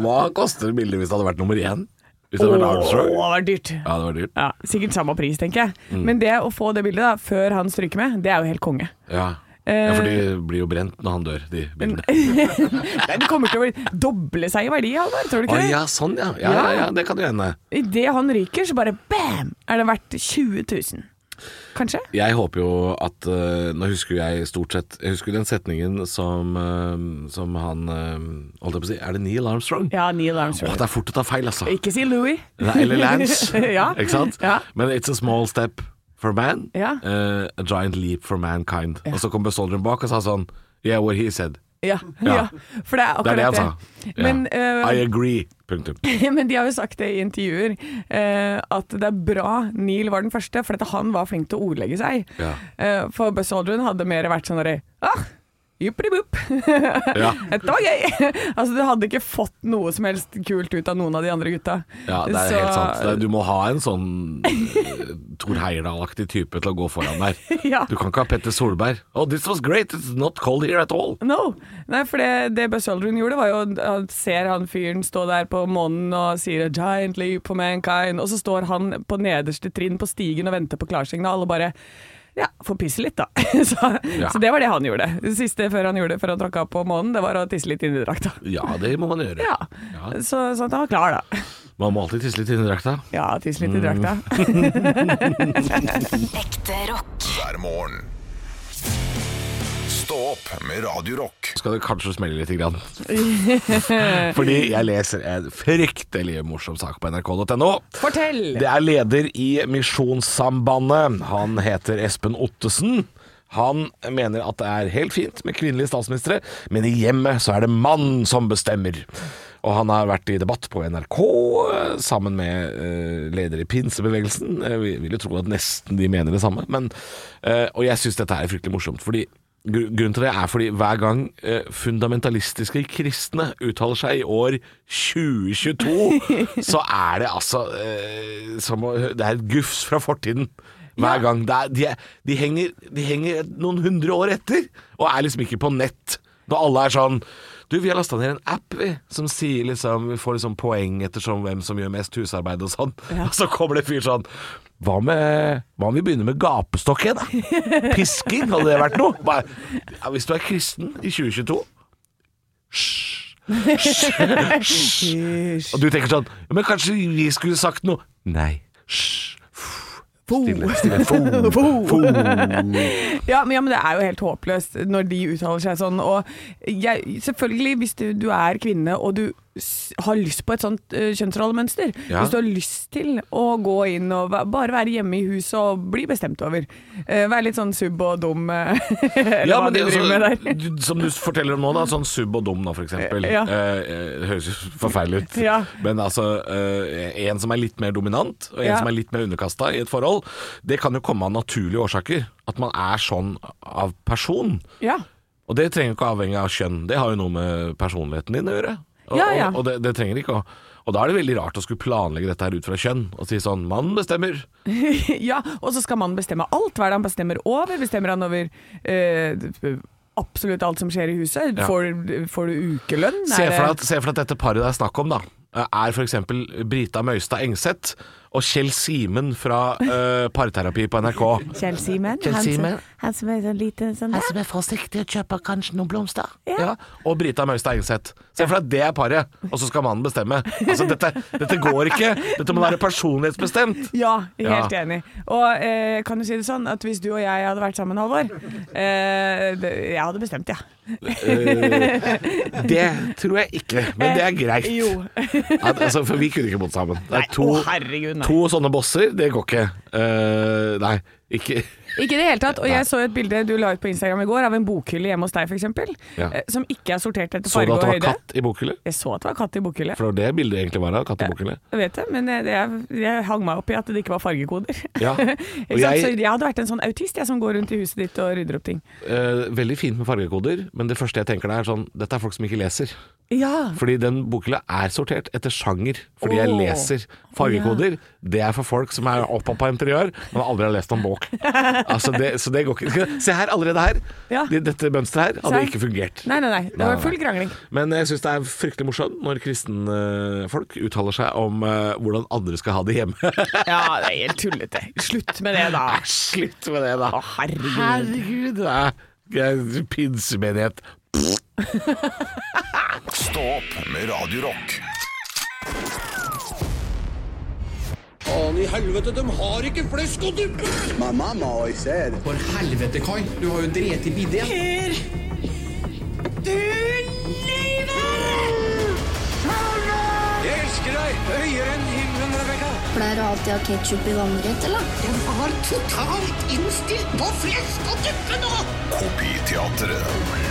S4: Hva koster bildet hvis det hadde vært nummer én? Hvis det hadde vært Armstrong?
S3: Åh, det var dyrt.
S4: Ja, Mm. det var dyrt.
S3: Ja, sikkert samme pris, tenker jeg. Men det å få det bildet da, før han stryker med, det er jo helt konge.
S4: Ja.
S3: Eh,
S4: ja, for de blir jo brent når han dør, de bildene.
S3: Nei, Det kommer til å bli- doble seg i verdi, Halvor, tror du
S4: Å
S3: ikke det?
S4: ja, sånn ja. Ja, ja, ja. Det kan jo hende.
S3: Idet han ryker, så bare bam, er det verdt 20 000. Kanskje?
S4: Jeg håper jo at eh, Nå husker jo jeg stort sett Jeg husker den setningen som, eh, som han eh, Holdt jeg på å si Er det Neil Armstrong?
S3: Ja, Neil
S4: Åh,
S3: Armstrong.
S4: det er fort å ta feil, altså.
S3: Ikke si Louis.
S4: Nei, Eller Lance.
S3: ja.
S4: Ikke sant?
S3: Ja.
S4: Men it's a small step for man,
S3: Ja.
S4: eh, a giant leap for mankind. Og så kom Besoldieren bak og sa sånn Yeah, what he said.
S3: Ja, ja.
S4: Ja.
S3: For det er
S4: Det
S3: akkurat
S4: er det han sa. Ja.
S3: Men, eh,
S4: I agree. Punktum.
S3: Men de har jo sagt det i intervjuer, eh, at det er bra Neil var den første, for at han var flink til å ordlegge seg.
S4: Ja.
S3: Eh, for Buzz Aldrin hadde mer vært sånn derre ah, Juppelibupp.
S4: Ja.
S3: Dette var gøy! altså, du hadde ikke fått noe som helst kult ut av noen av de andre gutta.
S4: Ja, det er
S3: Så-
S4: helt sant. Det er- Du må ha en sånn uh, Thor Heyerdahl-aktig type til å gå foran der.
S3: Ja.
S4: Du kan ikke ha Petter Solberg. Oh, this was great, it's not cold here at all.
S3: No! Nei, for det, det Buzz Aldrin gjorde, var jo Han ser han fyren stå der på månen og sier 'A giant leap for mankind', og så står han på nederste trinn på stigen og venter på klarsignal, og alle bare ja, får pisse litt, da. så,
S4: Ja.
S3: så det var det han gjorde. Det siste før han gjorde det, før han tråkka på månen, det var å tisse litt inni drakta.
S4: Ja, det må man gjøre.
S3: Ja. Så sånn at han var klar, da.
S4: Man må alltid tisse litt inni drakta.
S3: Ja, tisse litt i
S4: Mm.
S3: drakta.
S6: Ekte rock.
S2: hver morgen. Stå opp med Radio Rock.
S4: Skal det kanskje smelle lite grann. Fordi jeg leser en fryktelig morsom sak på nrk.no.
S3: Fortell!
S4: Det er leder i Misjonssambandet. Han heter Espen Ottesen. Han mener at det er helt fint med kvinnelige statsministre, men i hjemmet så er det mann som bestemmer. Og han har vært i debatt på NRK eh, sammen med eh, leder i pinsebevegelsen. Jeg vil- vil jo tro at nesten de mener det samme. Men, eh, og jeg syns dette er fryktelig morsomt. fordi gru- Grunnen til det er fordi hver gang eh, fundamentalistiske kristne uttaler seg i år 2022, så er det altså eh, som å, Det er et gufs fra fortiden. Hver gang. Det er, de, er- de, henger, de henger noen hundre år etter, og er liksom ikke på nett. Når alle er sånn Du, vi har lasta ned en app, vi, som sier liksom Vi får liksom poeng ettersom hvem som gjør mest husarbeid og sånn. Og så kommer det en fyr sånn hva, med, hva om vi begynner med gapestokken, da? Pisking, hadde det vært noe? Bare, ja, hvis du er kristen i 2022 Og du tenker sånn «Ja, Men kanskje vi skulle sagt noe Nei Hysj. Stille, stille Fo. Fo.
S3: Ja men, ja, men det er jo helt håpløst når de uttaler seg sånn. Og jeg, selvfølgelig, hvis du, du er kvinne og du s- har lyst på et sånt eh, kjønnsrollemønster
S4: Ja.
S3: Hvis du har lyst til å gå inn og væ- bare være hjemme i huset og bli bestemt over. eh, være litt sånn sub og dum. eh, eller
S4: Ja,
S3: hva
S4: men
S3: de
S4: det er altså
S3: driver
S4: jo
S3: med der.
S4: så, du- som du forteller om nå, da, sånn sub og dum, da, for eksempel.
S3: Ja.
S4: Eh, eh, det høres jo forferdelig ut.
S3: Ja.
S4: Men altså, eh, en som er litt mer dominant, og en
S3: Ja.
S4: som er litt mer underkasta i et forhold, det kan jo komme av naturlige årsaker. At man er sånn av person.
S3: Ja.
S4: Og det trenger jo ikke avhenge av kjønn. Det har jo noe med personligheten din å gjøre. Og,
S3: Ja, ja.
S4: og, og det, det trenger ikke å Og da er det veldig rart å skulle planlegge dette her ut fra kjønn, og si sånn 'Mannen bestemmer'.
S3: ja, og så skal mannen bestemme alt. Hva er det han bestemmer over? Bestemmer han over eh, absolutt alt som skjer i huset?
S4: Ja.
S3: Får, får du ukelønn?
S4: Se
S3: Er
S4: for, deg
S3: det-
S4: at, se for deg at dette paret det er snakk om, da, er f.eks. Brita Møystad Engseth og Kjell Simen fra eh, Parterapi på NRK.
S3: Kjell Simen.
S4: Kjell
S3: han som-
S4: Simen.
S3: Han som er sånn liten sånn der.
S4: som er forsiktig og kjøper kanskje noen blomster.
S3: Ja.
S4: Ja. Og Brita Møystad Engseth. Se for deg at det er paret, og så skal mannen bestemme. Altså, dette, dette går ikke. Dette må være personlighetsbestemt.
S3: Ja, helt
S4: Ja.
S3: enig. Og eh, kan du si det sånn at hvis du og jeg hadde vært sammen, Halvor eh, det- Jeg hadde bestemt, jeg.
S4: Eh, Det tror jeg ikke, men det er greit.
S3: Ja. Eh, Jo.
S4: At, altså, for vi kunne ikke bodd sammen. Det er to,
S3: Å, herregud, nei.
S4: to sånne bosser, det går ikke. Eh, nei, ikke
S3: Ikke i det hele tatt. Og jeg så et bilde du la ut på Instagram i går av en bokhylle hjemme hos deg, f.eks.
S4: Ja.
S3: Ja. Som ikke er sortert etter
S4: Så
S3: farge
S4: du
S3: og
S4: at det var
S3: høyde.
S4: katt i bokhylle?
S3: Jeg så at det var katt i bokhylle.
S4: For det var det bildet egentlig var av kattebukkene.
S3: Jeg vet det, men jeg, jeg, jeg hang meg opp i at det ikke var fargekoder.
S4: Ja.
S3: Ikke
S4: Og
S3: sant?
S4: jeg-
S3: Så jeg hadde vært en sånn autist jeg, som går rundt i huset ditt og rydder opp ting.
S4: Eh, veldig fint med fargekoder, men det første jeg tenker da er sånn Dette er folk som ikke leser.
S3: Ja,
S4: Fordi den bokhylla er sortert etter sjanger, fordi jeg
S3: Åh.
S4: leser fargekoder. Det er for folk som er oppa på interiør, men aldri har lest om bok. Altså det, så det går ikke. Se her, allerede her.
S3: Ja.
S4: De- Dette mønsteret her
S3: Se
S4: hadde
S3: her.
S4: ikke fungert.
S3: Nei, nei, nei. Det
S4: Nei,
S3: var
S4: nei,
S3: full
S4: nei.
S3: krangling.
S4: Men jeg syns det er fryktelig morsomt når kristne folk uttaler seg om eh, hvordan andre skal ha det hjemme.
S3: Ja, det er helt tullete. Slutt med det, da.
S4: Slutt med det, da.
S3: Å, herregud.
S4: Herregud, det er pinsemenighet.
S2: Stå opp med Radio Rock.
S7: My mama always said,
S8: For helvete, Kai. Du har jo drept i bidé.
S9: Pleier du alltid å ha ketsjup i vannrett, eller?
S2: Kopiteatret.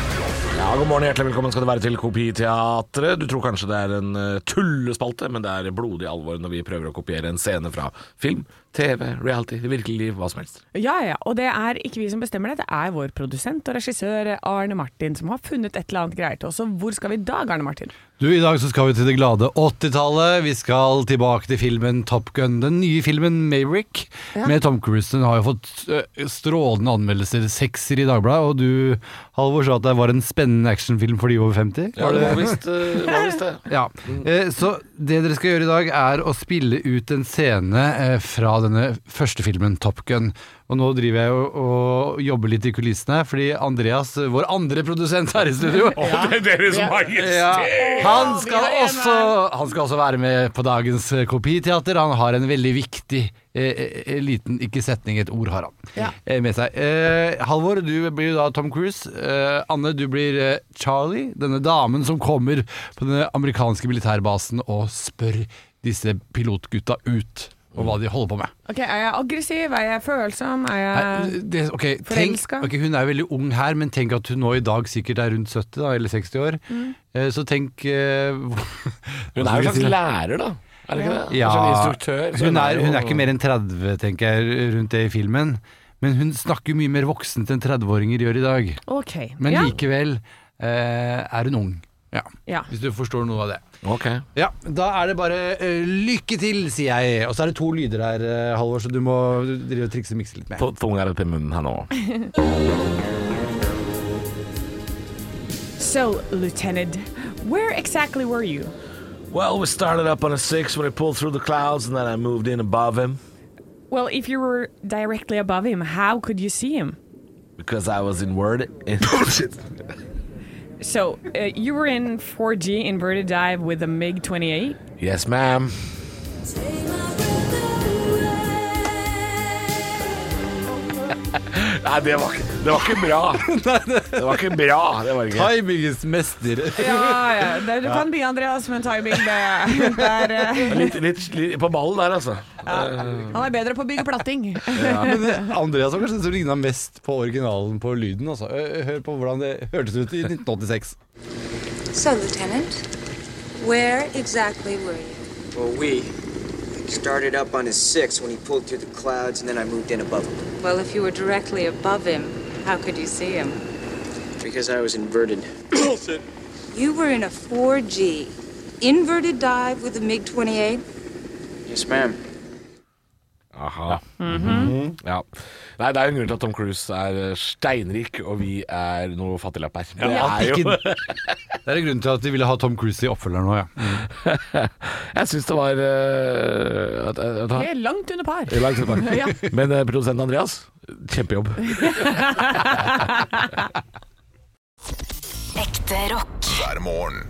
S4: Ja, God morgen, hjertelig velkommen skal du være til Kopiteatret. Du tror kanskje det er en eh, tullespalte, men det er blodig alvor når vi prøver å kopiere en scene fra film, TV, reality, virkelig liv, hva som helst.
S3: Ja, ja. Og det er ikke vi som bestemmer det, det er vår produsent og regissør eh, Arne Martin som har funnet et eller annet greier til oss. Og hvor skal vi i dag, Arne Martin?
S10: Du, I dag så skal vi til det glade 80-tallet. Vi skal tilbake til filmen Top Gun. Den nye filmen Maverick med Tom Cruise. Den har jo fått ø, strålende anmeldelser. Sekser i Dagbladet. Og du, Halvor, sa at det var en spennende actionfilm for de over 50.
S4: Ja, det var visst eh, var visst det.
S10: Ja. Eh, Så det dere skal gjøre i dag, er å spille ut en scene eh, fra denne første filmen, Top Gun. Og nå driver jeg og, og jobber litt i kulissene, fordi Andreas, eh, vår andre produsent her i studio
S4: Det er dere som har
S10: ja. han, skal
S3: har en
S10: også, han skal også være med på dagens eh, kopiteater. Han har en veldig viktig eh, eh, liten ikke setning, et ord har han eh, med seg. Eh, Halvor, du blir jo da Tom Cruise. Eh, Anne, du blir eh, Charlie, denne damen som kommer på den amerikanske militærbasen og spør disse pilotgutta ut. og hva de holder på med.
S3: Ok, Er jeg aggressiv? Er jeg følsom? Er
S10: Nei,
S3: jeg
S10: det, ok, tenk,
S3: Eh, forelska.
S10: ok, Hun er veldig ung her, men tenk at hun nå i dag sikkert er rundt 70 da, eller 60 år.
S3: Mm.
S10: Eh, Så tenk eh,
S7: Hun er jo en slags lærer, da. Er det ikke det?
S10: ja,
S7: En slags instruktør. så
S10: hun, er,
S7: jo-
S10: hun er ikke mer enn 30, tenker jeg, rundt det i filmen. Men hun snakker jo mye mer voksent enn 30-åringer gjør i dag.
S3: Ok.
S10: Men
S3: ja.
S10: likevel eh, er hun ung. Ja.
S3: Ja.
S10: Hvis du forstår noe av det.
S4: Ok.
S10: Ja, Da er det bare eh, lykke til, sier jeg. Og så er det to lyder her, eh, Halvor, så du må drive og trikse og mikse litt med.
S7: På tunga rett i munnen her nå.
S3: So, Lieutenant, where exactly were you?
S7: Well, we started up on a six when he pulled through the clouds, and then I moved in above him
S3: Well, if you were directly above him, how could you see him?
S7: because I was in word.
S3: So, uh, you were in 4G inverted dive with a MiG 28?
S7: yes, ma'am. Nei, det var, ikke, det var ikke bra. Det var ikke bra. Det var ikke.
S10: Timingens mester.
S3: Ja, ja. Det, du kan by, Andreas, men timing det, det er, eh,
S7: Litt, litt, litt på ballen der, altså.
S3: Han er bedre på å bygge platting.
S10: Men det- Andreas var kanskje den som ligna mest på originalen på lyden. Altså. Ø- Hør på hvordan det hørtes ut i 1986.
S6: So, Lieutenant, where exactly were you?
S8: Well, we started up on his six when he pulled through the clouds, and then I moved in above him
S6: Well, if you were directly above him, how could you see him?
S8: because I was inverted.
S6: You were in a 4G inverted dive with a MiG 28.
S8: Yes, ma'am.
S4: Aha. Mhm. ja. Nei, det er jo en grunn til at Tom Cruise er eh, steinrik, og vi er noe fattiglapper. Det er jo
S10: Det er grunnen til at de ville ha Tom Cruise i oppfølgeren nå, ja.
S4: Jeg syns det var eh, at, at,
S3: Det er langt under par.
S4: I lang tid bak.
S3: Ja.
S4: Men eh, produsenten Andreas, kjempejobb.
S6: Ekte rock.
S2: hver morgen.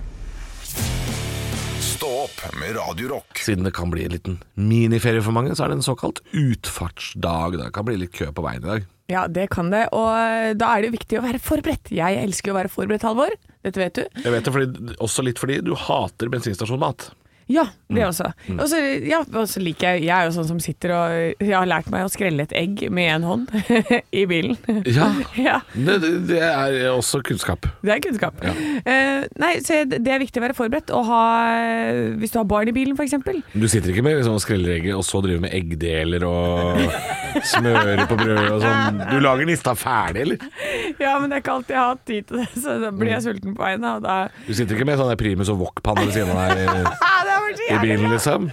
S2: Stå opp med Radio Rock.
S4: Siden det kan bli en liten miniferie for mange, så er det en såkalt utfartsdag. Det kan bli litt kø på veien i dag.
S3: Ja, det kan det. Og eh, da er det jo viktig å være forberedt. Jeg elsker å være forberedt, Halvor. Dette vet du.
S4: Jeg vet det fordi, også litt fordi du hater bensinstasjonmat.
S3: Ja, det
S4: Mm.
S3: også. Og så ja, og så liker jeg Jeg er jo sånn som sitter og Jeg har lært meg å skrelle et egg med én hånd i bilen.
S4: Ja.
S3: ja.
S4: Det, det- det er også kunnskap.
S3: Det er kunnskap. Eh, nei, så det er viktig å være forberedt. Og ha, eh, hvis du har barn i bilen, f.eks.
S4: Du sitter ikke med liksom, skrelleregget og så driver med eggdeler og smører på brød og sånn. Du lager nista ferdig, eller?
S3: Ja, men det er ikke alltid jeg har hatt tid til det, så da blir
S4: Mm.
S3: jeg sulten på veien. da, Og da
S4: Du sitter ikke med sånn der primus og wok-panne ved siden av deg i-
S3: ah, det har vært så
S4: i
S3: jævlig
S4: bilen,
S3: bra.
S4: liksom?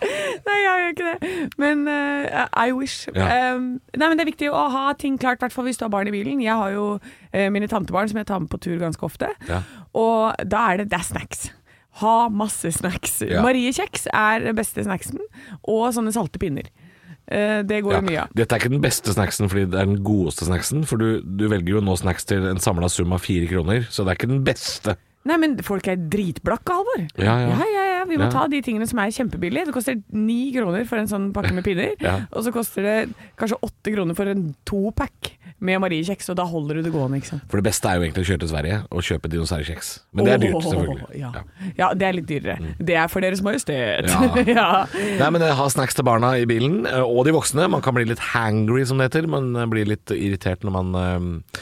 S3: Nei, jeg gjør ikke det. Men eh, I wish.
S4: Ja.
S3: Eh, nei, men det er viktig å ha ting klart, i hvert fall hvis du har barn i bilen. Jeg har jo eh, mine tantebarn som jeg tar med på tur ganske ofte.
S4: Ja.
S3: Og da er det, det er snacks. Ha masse snacks.
S4: Ja.
S3: Mariekjeks er den beste snacksen. Og sånne salte pinner. Eh, det går
S4: Ja.
S3: jo mye av.
S4: Dette er ikke den beste snacksen fordi det er den godeste snacksen. For du, du velger jo nå snacks til en samla sum av fire kroner, så det er ikke den beste.
S3: Nei, men folk er dritblakke, Halvor.
S4: Ja, ja.
S3: ja, ja, ja. Vi må
S4: Ja.
S3: ta de tingene som er kjempebillige. Det koster ni kroner for en sånn pakke med pinner.
S4: Ja.
S3: Og så koster det kanskje åtte kroner for en topack med Mariekjeks, og da holder du det gående, ikke sant.
S4: For det beste er jo egentlig å kjøre til Sverige og kjøpe dinosaurkjeks. Men det er dyrt,
S3: Åh,
S4: selvfølgelig.
S3: Ja.
S4: Ja. Mm.
S3: ja, det er litt dyrere. Det er for Deres Majestet.
S4: Ja.
S3: Ja.
S4: Nei, men eh, Ha snacks til barna i bilen, eh, og de voksne. Man kan bli litt hangry, som det heter. Man eh, blir litt irritert når man, eh,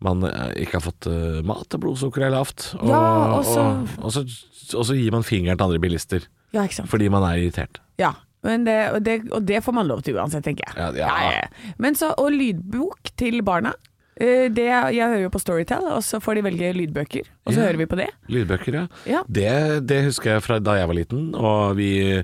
S4: man eh, ikke har fått eh, mat, blodsukkeret er lavt. Og,
S3: Ja, og
S4: og,
S3: så-
S4: og, så, og så gir man fingeren til andre bilister
S3: ja, ikke sant.
S4: fordi man er irritert.
S3: Ja, men det, og, det, og det får man lov til uansett, tenker jeg.
S4: Ja, ja.
S3: Men så, og lydbok til barna. Eh, Det, jeg hører jo på Storytel, og så får de velge lydbøker, og så
S4: Ja.
S3: hører vi på det.
S4: Lydbøker, ja.
S3: Ja.
S4: Det, det husker jeg fra da jeg var liten, og vi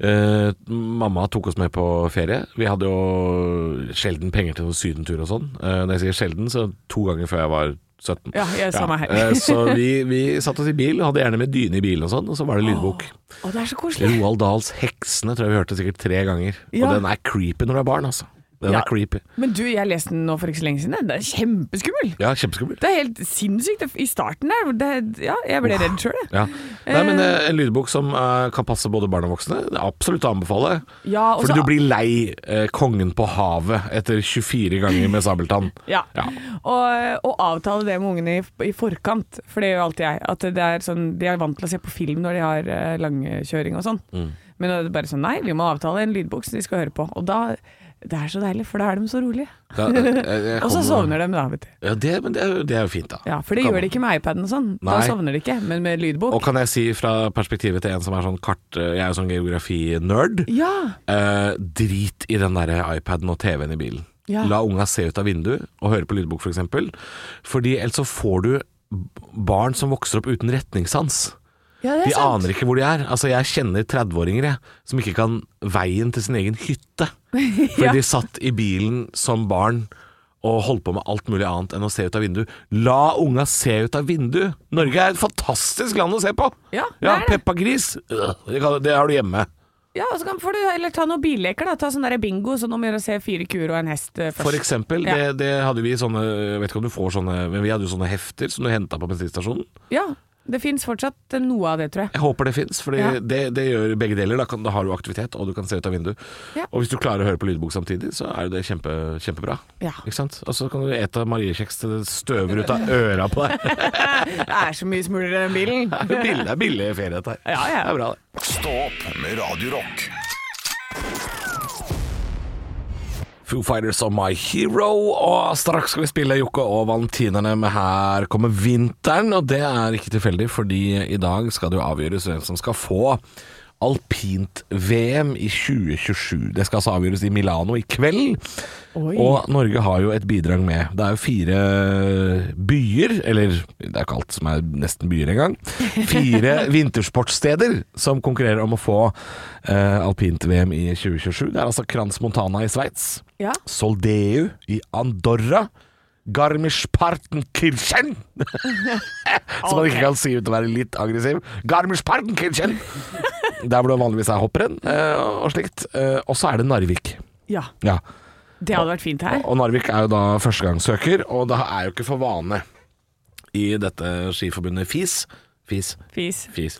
S4: eh, Mamma tok oss med på ferie. Vi hadde jo sjelden penger til noen sydentur og sånn. Eh, når jeg sier sjelden, så to ganger før jeg var 17.
S3: Ja, jeg er samme her.
S4: eh, så vi, vi satt oss i bil, hadde gjerne med dyne i bilen og sånn, og så var det lydbok.
S3: Å, det er så koselig!
S4: Roald Dahls 'Heksene' tror jeg vi hørte sikkert tre ganger.
S3: Ja.
S4: Og den er creepy når du er barn, altså. Den
S3: Ja.
S4: er creepy.
S3: Men du, jeg leste den nå for ikke så lenge siden. Den er kjempeskummel!
S4: Ja, kjempeskummel.
S3: Det er helt sinnssykt det- i starten der. hvor Det, ja, jeg ble redd sjøl, jeg.
S4: Ja. Nei, men eh, En lydbok som eh, kan passe både barn og voksne, det er absolutt å anbefale.
S3: Ja, og
S4: Fordi
S3: så-
S4: du blir lei eh, 'Kongen på havet' etter 24 ganger med Sabeltann.
S3: Ja.
S4: Ja.
S3: Og, og avtale det med ungene i, i forkant, for det gjør jo alltid jeg. At det er sånn, De er vant til å se på film når de har eh, langkjøring og sånn.
S4: Mm.
S3: Men da er det bare sånn nei, vi må avtale en lydbok som de skal høre på. Og da Det er så deilig, for da er de så rolige.
S4: Da- jeg- jeg
S3: Og så
S4: kommer-
S3: sovner de da, vet du.
S4: Ja, det, men det er, jo- det er jo fint, da.
S3: Ja, For det
S4: Kan-
S3: gjør de ikke med iPaden og sånn. Da
S4: Nei.
S3: sovner de ikke, men med lydbok.
S4: Og kan jeg si fra perspektivet til en som er sånn kart Jeg er jo sånn geografinerd.
S3: Ja.
S4: Eh, drit i den der iPaden og TV-en i bilen.
S3: Ja.
S4: La unga se ut av vinduet og høre på lydbok, f.eks. eksempel fordi ellers så får du b- barn som vokser opp uten retningssans.
S3: ja, det
S4: De
S3: er sant.
S4: aner ikke hvor de er. Altså, jeg kjenner 30-åringer jeg, som ikke kan veien til sin egen hytte. Fordi
S3: Ja.
S4: de satt i bilen som barn og holdt på med alt mulig annet enn å se ut av vinduet. La unga se ut av vinduet! Norge er et fantastisk land å se på!
S3: Ja, det
S4: ja
S3: er det.
S4: Peppa Gris, øh, det kan- det har du hjemme.
S3: Ja, og så kan, får du heller ta noen billeker, da. Ta sånn der bingo, sånn om å gjøre å se fire kuer og en hest eh, først.
S4: For eksempel,
S3: Ja.
S4: det, det hadde vi sånne Jeg vet ikke om du får sånne, men vi hadde jo sånne hefter som du henta på bensinstasjonen.
S3: Ja. Det fins fortsatt eh, noe av det, tror jeg.
S4: Jeg håper det fins, for
S3: Ja.
S4: det, det gjør begge deler. Da, kan, da har du aktivitet, og du kan se ut av vinduet.
S3: Ja.
S4: Og hvis du klarer å høre på lydbok samtidig, så er jo det kjempe, kjempebra.
S3: Ja.
S4: Ikke sant? Og så kan du ete mariekjeks til det støver ut av øra på deg.
S3: Det er så mye smulere enn bilen.
S4: Det er billig, det er billig ferie, dette her.
S3: Ja, ja.
S4: Det er bra, det.
S2: Stå opp med Radio Rock.
S4: Foo Fighters og My Hero, og straks skal vi spille Jokke og Valentinerne med Her kommer vinteren. Og det er ikke tilfeldig, fordi i dag skal det jo avgjøres hvem som skal få alpint-VM i 2027. Det skal altså avgjøres i Milano i kveld.
S3: Oi.
S4: Og Norge har jo et bidrag med. Det er jo fire byer, eller det er ikke alt som er nesten byer engang. Fire vintersportssteder som konkurrerer om å få eh, alpint-VM i 2027. Det er altså Crans Montana i Sveits,
S3: Ja.
S4: Soldeu i Andorra, Garmisch-Partenkirchen Som man ikke kan si uten å være litt aggressiv. Garmisch-Partenkirchen! Der hvor det vanligvis er hopprenn eh, og slikt. Eh, og så er det Narvik.
S3: ja.
S4: Ja.
S3: Det hadde vært fint her.
S4: Og Narvik er jo da førstegangssøker, og det er jo ikke for vane i dette skiforbundet FIS. FIS.
S3: Fis.
S4: FIS.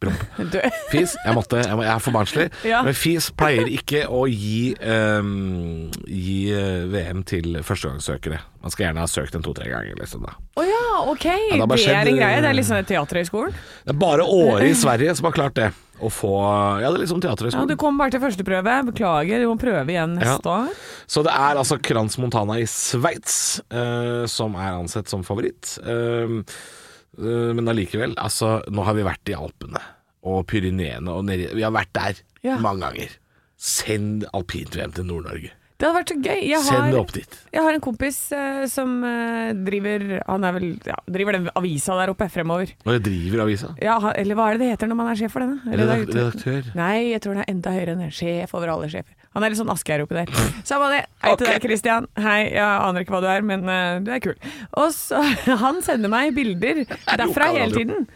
S4: Promp.
S3: Du.
S4: FIS. Jeg måtte, jeg, må, jeg er for barnslig.
S3: Ja.
S4: Men FIS pleier ikke å gi, ehm, gi eh, VM til førstegangssøkere. Man skal gjerne ha søkt en to-tre ganger, liksom. da.
S3: Å ja, ok.
S4: det har bare
S3: det er
S4: skjedd,
S3: en greie.
S4: eh,
S3: Det er liksom teaterhøgskolen.
S4: Det er bare Åre i Sverige som har klart det. Å få Ja, det er liksom
S3: Ja, du
S4: teaterhøgskolen.
S3: kom bare til første prøve. Beklager, du må prøve igjen neste år.
S4: Så det er altså Crans Montana i Sveits eh, som er ansett som favoritt. Eh, eh, men allikevel, altså, nå har vi vært i Alpene og Pyreneene og nedi Vi har vært der
S3: Ja.
S4: mange ganger. Send alpint-VM til Nord-Norge.
S3: Det hadde vært så gøy. Jeg
S4: Send det
S3: har,
S4: opp dit.
S3: jeg har en kompis eh, som eh, driver Han er vel ja, driver den avisa der oppe fremover.
S4: Og jeg driver avisa.
S3: Ja, han, eller hva er det det heter når man er sjef for denne?
S4: Redak- Redaktør.
S3: Nei, jeg tror den er enda høyere enn det. Sjef over alle sjefer. Han er litt sånn Asgeir oppi der. Samme det. Hei til deg, Christian. Hei, jeg aner ikke hva du er, men eh, du er kul. Og så Han sender meg bilder derfra hele
S4: lokalradio.
S3: tiden.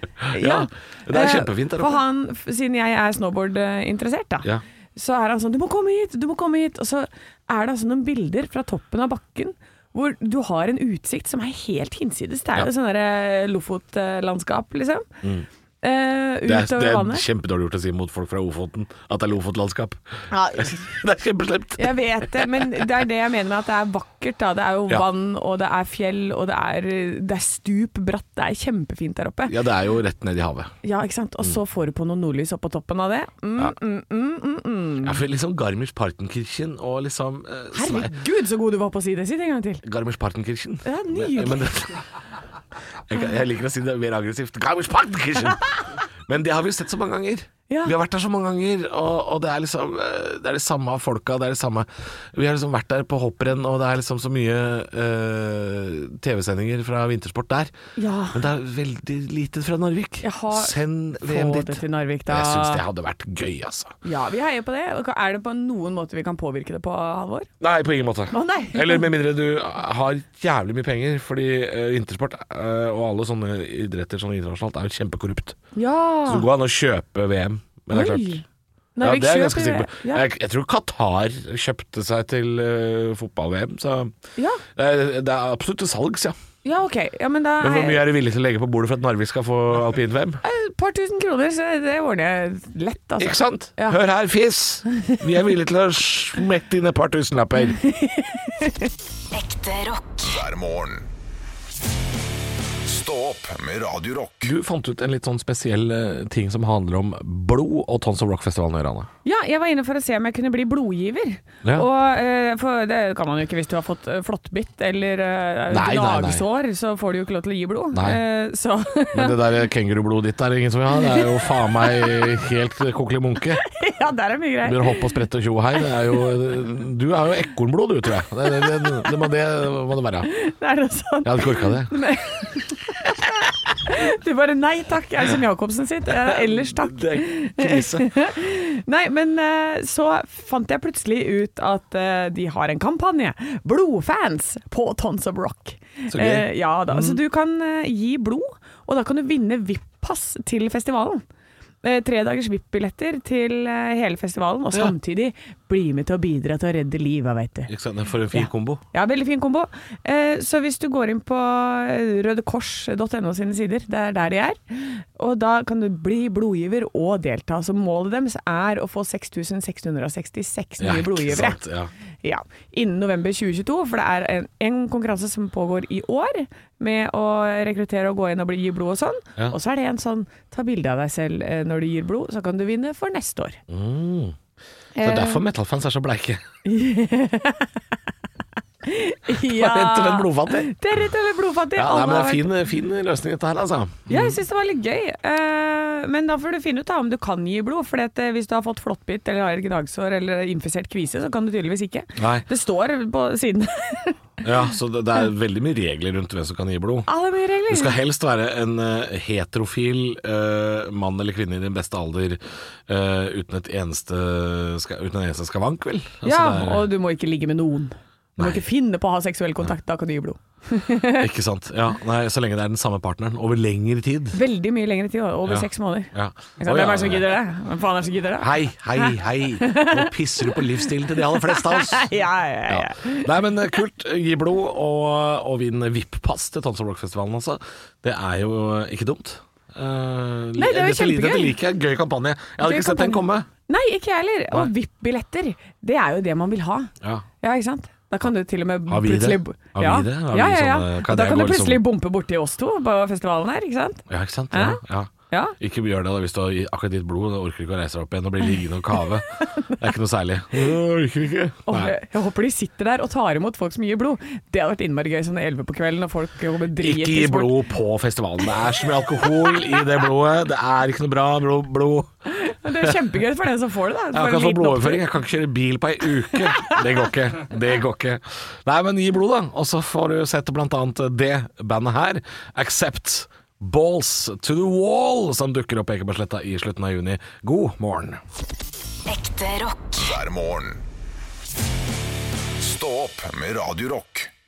S4: Ja, det er
S3: Eh,
S4: kjempefint der oppe.
S3: For han, f- siden jeg er snowboardinteressert, da,
S4: Ja.
S3: så er han sånn 'Du må komme hit! Du må komme hit!' Og så er det altså noen bilder fra toppen av bakken. Hvor du har en utsikt som er helt hinsides. Det er jo sånn derre Lofotlandskap, liksom. Eh,
S4: Mm. Det er,
S3: utover
S4: det er
S3: vannet.
S4: kjempedårlig gjort å si mot folk fra Ofoten at det er Lofotlandskap.
S3: Ja,
S4: Det er kjempeslemt.
S3: Jeg vet det, men det er det jeg mener med at det er vakkert. Da. Det er jo
S4: Ja.
S3: vann, og det er fjell, og det er, det er stup bratt. Det er kjempefint der oppe. Ja.
S4: Ja, Mm. det er jo rett ned i havet.
S3: ikke sant? Og så får du på noe nordlys opp på toppen av det. Mm, mm, mm, mm, mm.
S4: Ja, for liksom Garmisch-Partenkirchen og liksom eh, Sve-
S3: Herregud, så god du var på å si det. Si det en gang til.
S4: Garmisch-Partenkirchen.
S3: Det er nydelig.
S4: Men- men det- jeg, kan- jeg liker å si det mer aggressivt. Garmisch-Partenkirchen! Men det har vi jo sett så mange ganger.
S3: Ja.
S4: Vi har vært der så mange ganger, og, og det er liksom eh, Det er det samme av folka, det er det samme Vi har liksom vært der på hopprenn, og det er liksom så mye eh, TV-sendinger fra vintersport der.
S3: Ja.
S4: Men det er veldig lite fra Narvik.
S3: Jeg har-
S4: Send VM
S3: Få
S4: dit.
S3: det til Narvik, da.
S4: Jeg syns det hadde vært gøy, altså.
S3: Ja, vi heier på det. Og Er det på noen måte vi kan påvirke det på, Halvor?
S4: Nei, på ingen måte.
S3: Å, nei.
S4: Eller med mindre du har jævlig mye penger, fordi eh, vintersport eh, og alle sånne idretter sånn internasjonalt er jo kjempekorrupt.
S3: Ja.
S4: Så det går an å kjøpe VM, men det er klart
S3: Nei,
S4: ja,
S3: vi
S4: det er jeg
S3: kjøper-
S4: ganske sikker på.
S3: Ja.
S4: Jeg, jeg tror Qatar kjøpte seg til eh, fotball-VM, så
S3: Ja,
S4: det er, det er absolutt til salgs, ja.
S3: ja ok. Ja, men da
S4: Men hvor mye
S3: er
S4: er du villig til å legge på bordet for at Narvik skal få alpin-VM?
S3: et par tusen kroner, så det ordner jeg lett,
S4: Ikke
S3: altså.
S4: sant?
S3: Ja.
S4: Hør her, fis! Vi er villige til å smette inn et par tusenlapper.
S11: Ekte rock.
S2: hver morgen. Stå opp med Radio Rock.
S4: Du fant ut en litt sånn spesiell eh, ting som handler om blod og Tons of Rock-festivalen i Rana.
S3: Ja, jeg var inne for å se om jeg kunne bli blodgiver.
S4: Ja.
S3: Og eh, for det kan man jo ikke hvis du har fått eh, flåttbitt eller eh,
S4: Nei, nei, nei.
S3: gnagsår, så får du jo ikke lov til å gi blod.
S4: Nei.
S3: Eh, så
S4: Men det der kengurublodet ditt er det ingen som vil ha. Det er jo faen meg helt kokkelimunke.
S3: ja, der er mye
S4: Du
S3: greier.
S4: begynner å hoppe og sprette og tjo her. Det er jo, du har jo ekornblod, du, tror jeg. Det, det, det, det, må, det må det være. Jeg
S3: Det er noe sånn.
S4: hadde ikke orka det.
S3: Du bare nei takk, er det som Jacobsen sitt. Eh, ellers takk. Nei, men eh, så fant jeg plutselig ut at eh, de har en kampanje. Blodfans på Tons of Rock.
S4: Så gøy. Mm.
S3: Eh, ja da. Så du kan eh, gi blod, og da kan du vinne VIP-pass til festivalen. Eh, tre dagers VIP-billetter til eh, hele festivalen, og
S4: Ja.
S3: samtidig bli med til å bidra til å redde livet, veit du.
S4: Ikke sant? For en fin
S3: Ja.
S4: kombo.
S3: Ja, veldig fin kombo. Eh, så hvis du går inn på eh, rødekors.no sine sider, det er der de er, og da kan du bli blodgiver og delta. Så målet deres er å få 6666 nye
S4: Ja, ikke
S3: blodgivere.
S4: sant, ja.
S3: Ja, innen november 2022, for det er en, en konkurranse som pågår i år, med å rekruttere og gå inn og bli, gi blod og sånn.
S4: Ja.
S3: Og så er det en sånn ta bilde av deg selv eh, når du gir blod, så kan du vinne for neste år.
S4: Mm. Det
S3: Eh.
S4: er derfor metal-fans er så bleike.
S3: Ja.
S4: Rett og slett blodfattig.
S3: Det er rett og slett blodfattig.
S4: Ja,
S3: Alle
S4: nei, men det
S3: har
S4: er
S3: vært-
S4: fin, fin løsning dette her, altså.
S3: Ja, jeg syns det var litt gøy. Eh, men da får du finne ut da, om du kan gi blod. For hvis du har fått flåttbitt eller har et gnagsår eller infisert kvise, så kan du tydeligvis ikke.
S4: Nei.
S3: Det står på siden.
S4: Ja, så det, det er veldig mye regler rundt hvem som kan gi blod.
S3: Alle mye regler.
S4: Det skal helst være en eh, heterofil eh, mann eller kvinne i din beste alder eh, uten, et eneste, ska, uten en eneste skavank, vel? Altså,
S3: ja,
S4: det er-
S3: og du må ikke ligge med noen. Du må
S4: Nei.
S3: ikke finne på å ha seksuell kontakt, da kan du gi blod.
S4: Ikke sant. Ja, nei, så lenge det er den samme partneren over lengre tid.
S3: Veldig mye lengre tid, over
S4: Ja.
S3: seks måneder.
S4: Ja.
S3: Ikke sant?
S4: Å, ja,
S3: Hvem er det som
S4: ja.
S3: gidder det? Hvem faen er det som gidder det?
S4: Hei, hei, hei. Nå pisser du på livsstilen til de aller fleste av oss.
S3: Ja, ja, ja.
S4: Ja. Nei, men eh, kult. Gi blod og, og vinn VIP-pass til Tons of Rock-festivalen, altså. Det er jo ikke dumt. Eh,
S3: Nei, det er jo
S4: dette liker jeg.
S3: kjempegøy.
S4: Dette liker jeg. Gøy kampanje. Jeg hadde
S3: Gøy
S4: ikke sett den komme.
S3: kampanje. Nei, ikke jeg heller. Og VIP-billetter, det er jo det man vil ha.
S4: Ja.
S3: Ja, ikke sant? Da kan du til og med
S4: Har vi det?
S3: plutselig
S4: Har vi
S3: ja.
S4: det? Har vi
S3: ja, ja, ja.
S4: sånne- kan
S3: Og da
S4: jeg
S3: kan du
S4: gå liksom-
S3: plutselig bompe borti oss to på festivalen her, ikke sant?
S4: ja, ikke sant? Ja, ja.
S3: Ja.
S4: Ikke gjør det da hvis du har akkurat ditt blod. Da orker du ikke å reise deg opp igjen og bli liggende og kave. Det er ikke noe særlig. Jeg orker ikke.
S3: Og
S4: Nei.
S3: jeg jeg håper de sitter der og tar imot folk som gir blod. Det hadde vært innmari gøy sånn 11 på kvelden, og folk kommer
S4: Ikke
S3: dritings
S4: gi
S3: bort.
S4: blod på festivalen. Det er så mye alkohol i det blodet. Det er ikke noe bra blod. blod.
S3: Men det er kjempegøy for den som får det, da.
S4: Jeg
S3: Får en
S4: kan få
S3: liten
S4: blodoverføring. Jeg kan ikke kjøre bil på ei uke. Det går ikke. Det går ikke. Nei, men gi blod, da. Og så får du sett blant annet det bandet her, Accept Balls to the Wall, som dukker opp på Ekebergsletta i slutten av juni. God morgen.
S11: Ekte rock.
S2: hver morgen. Stå opp med Radio Rock.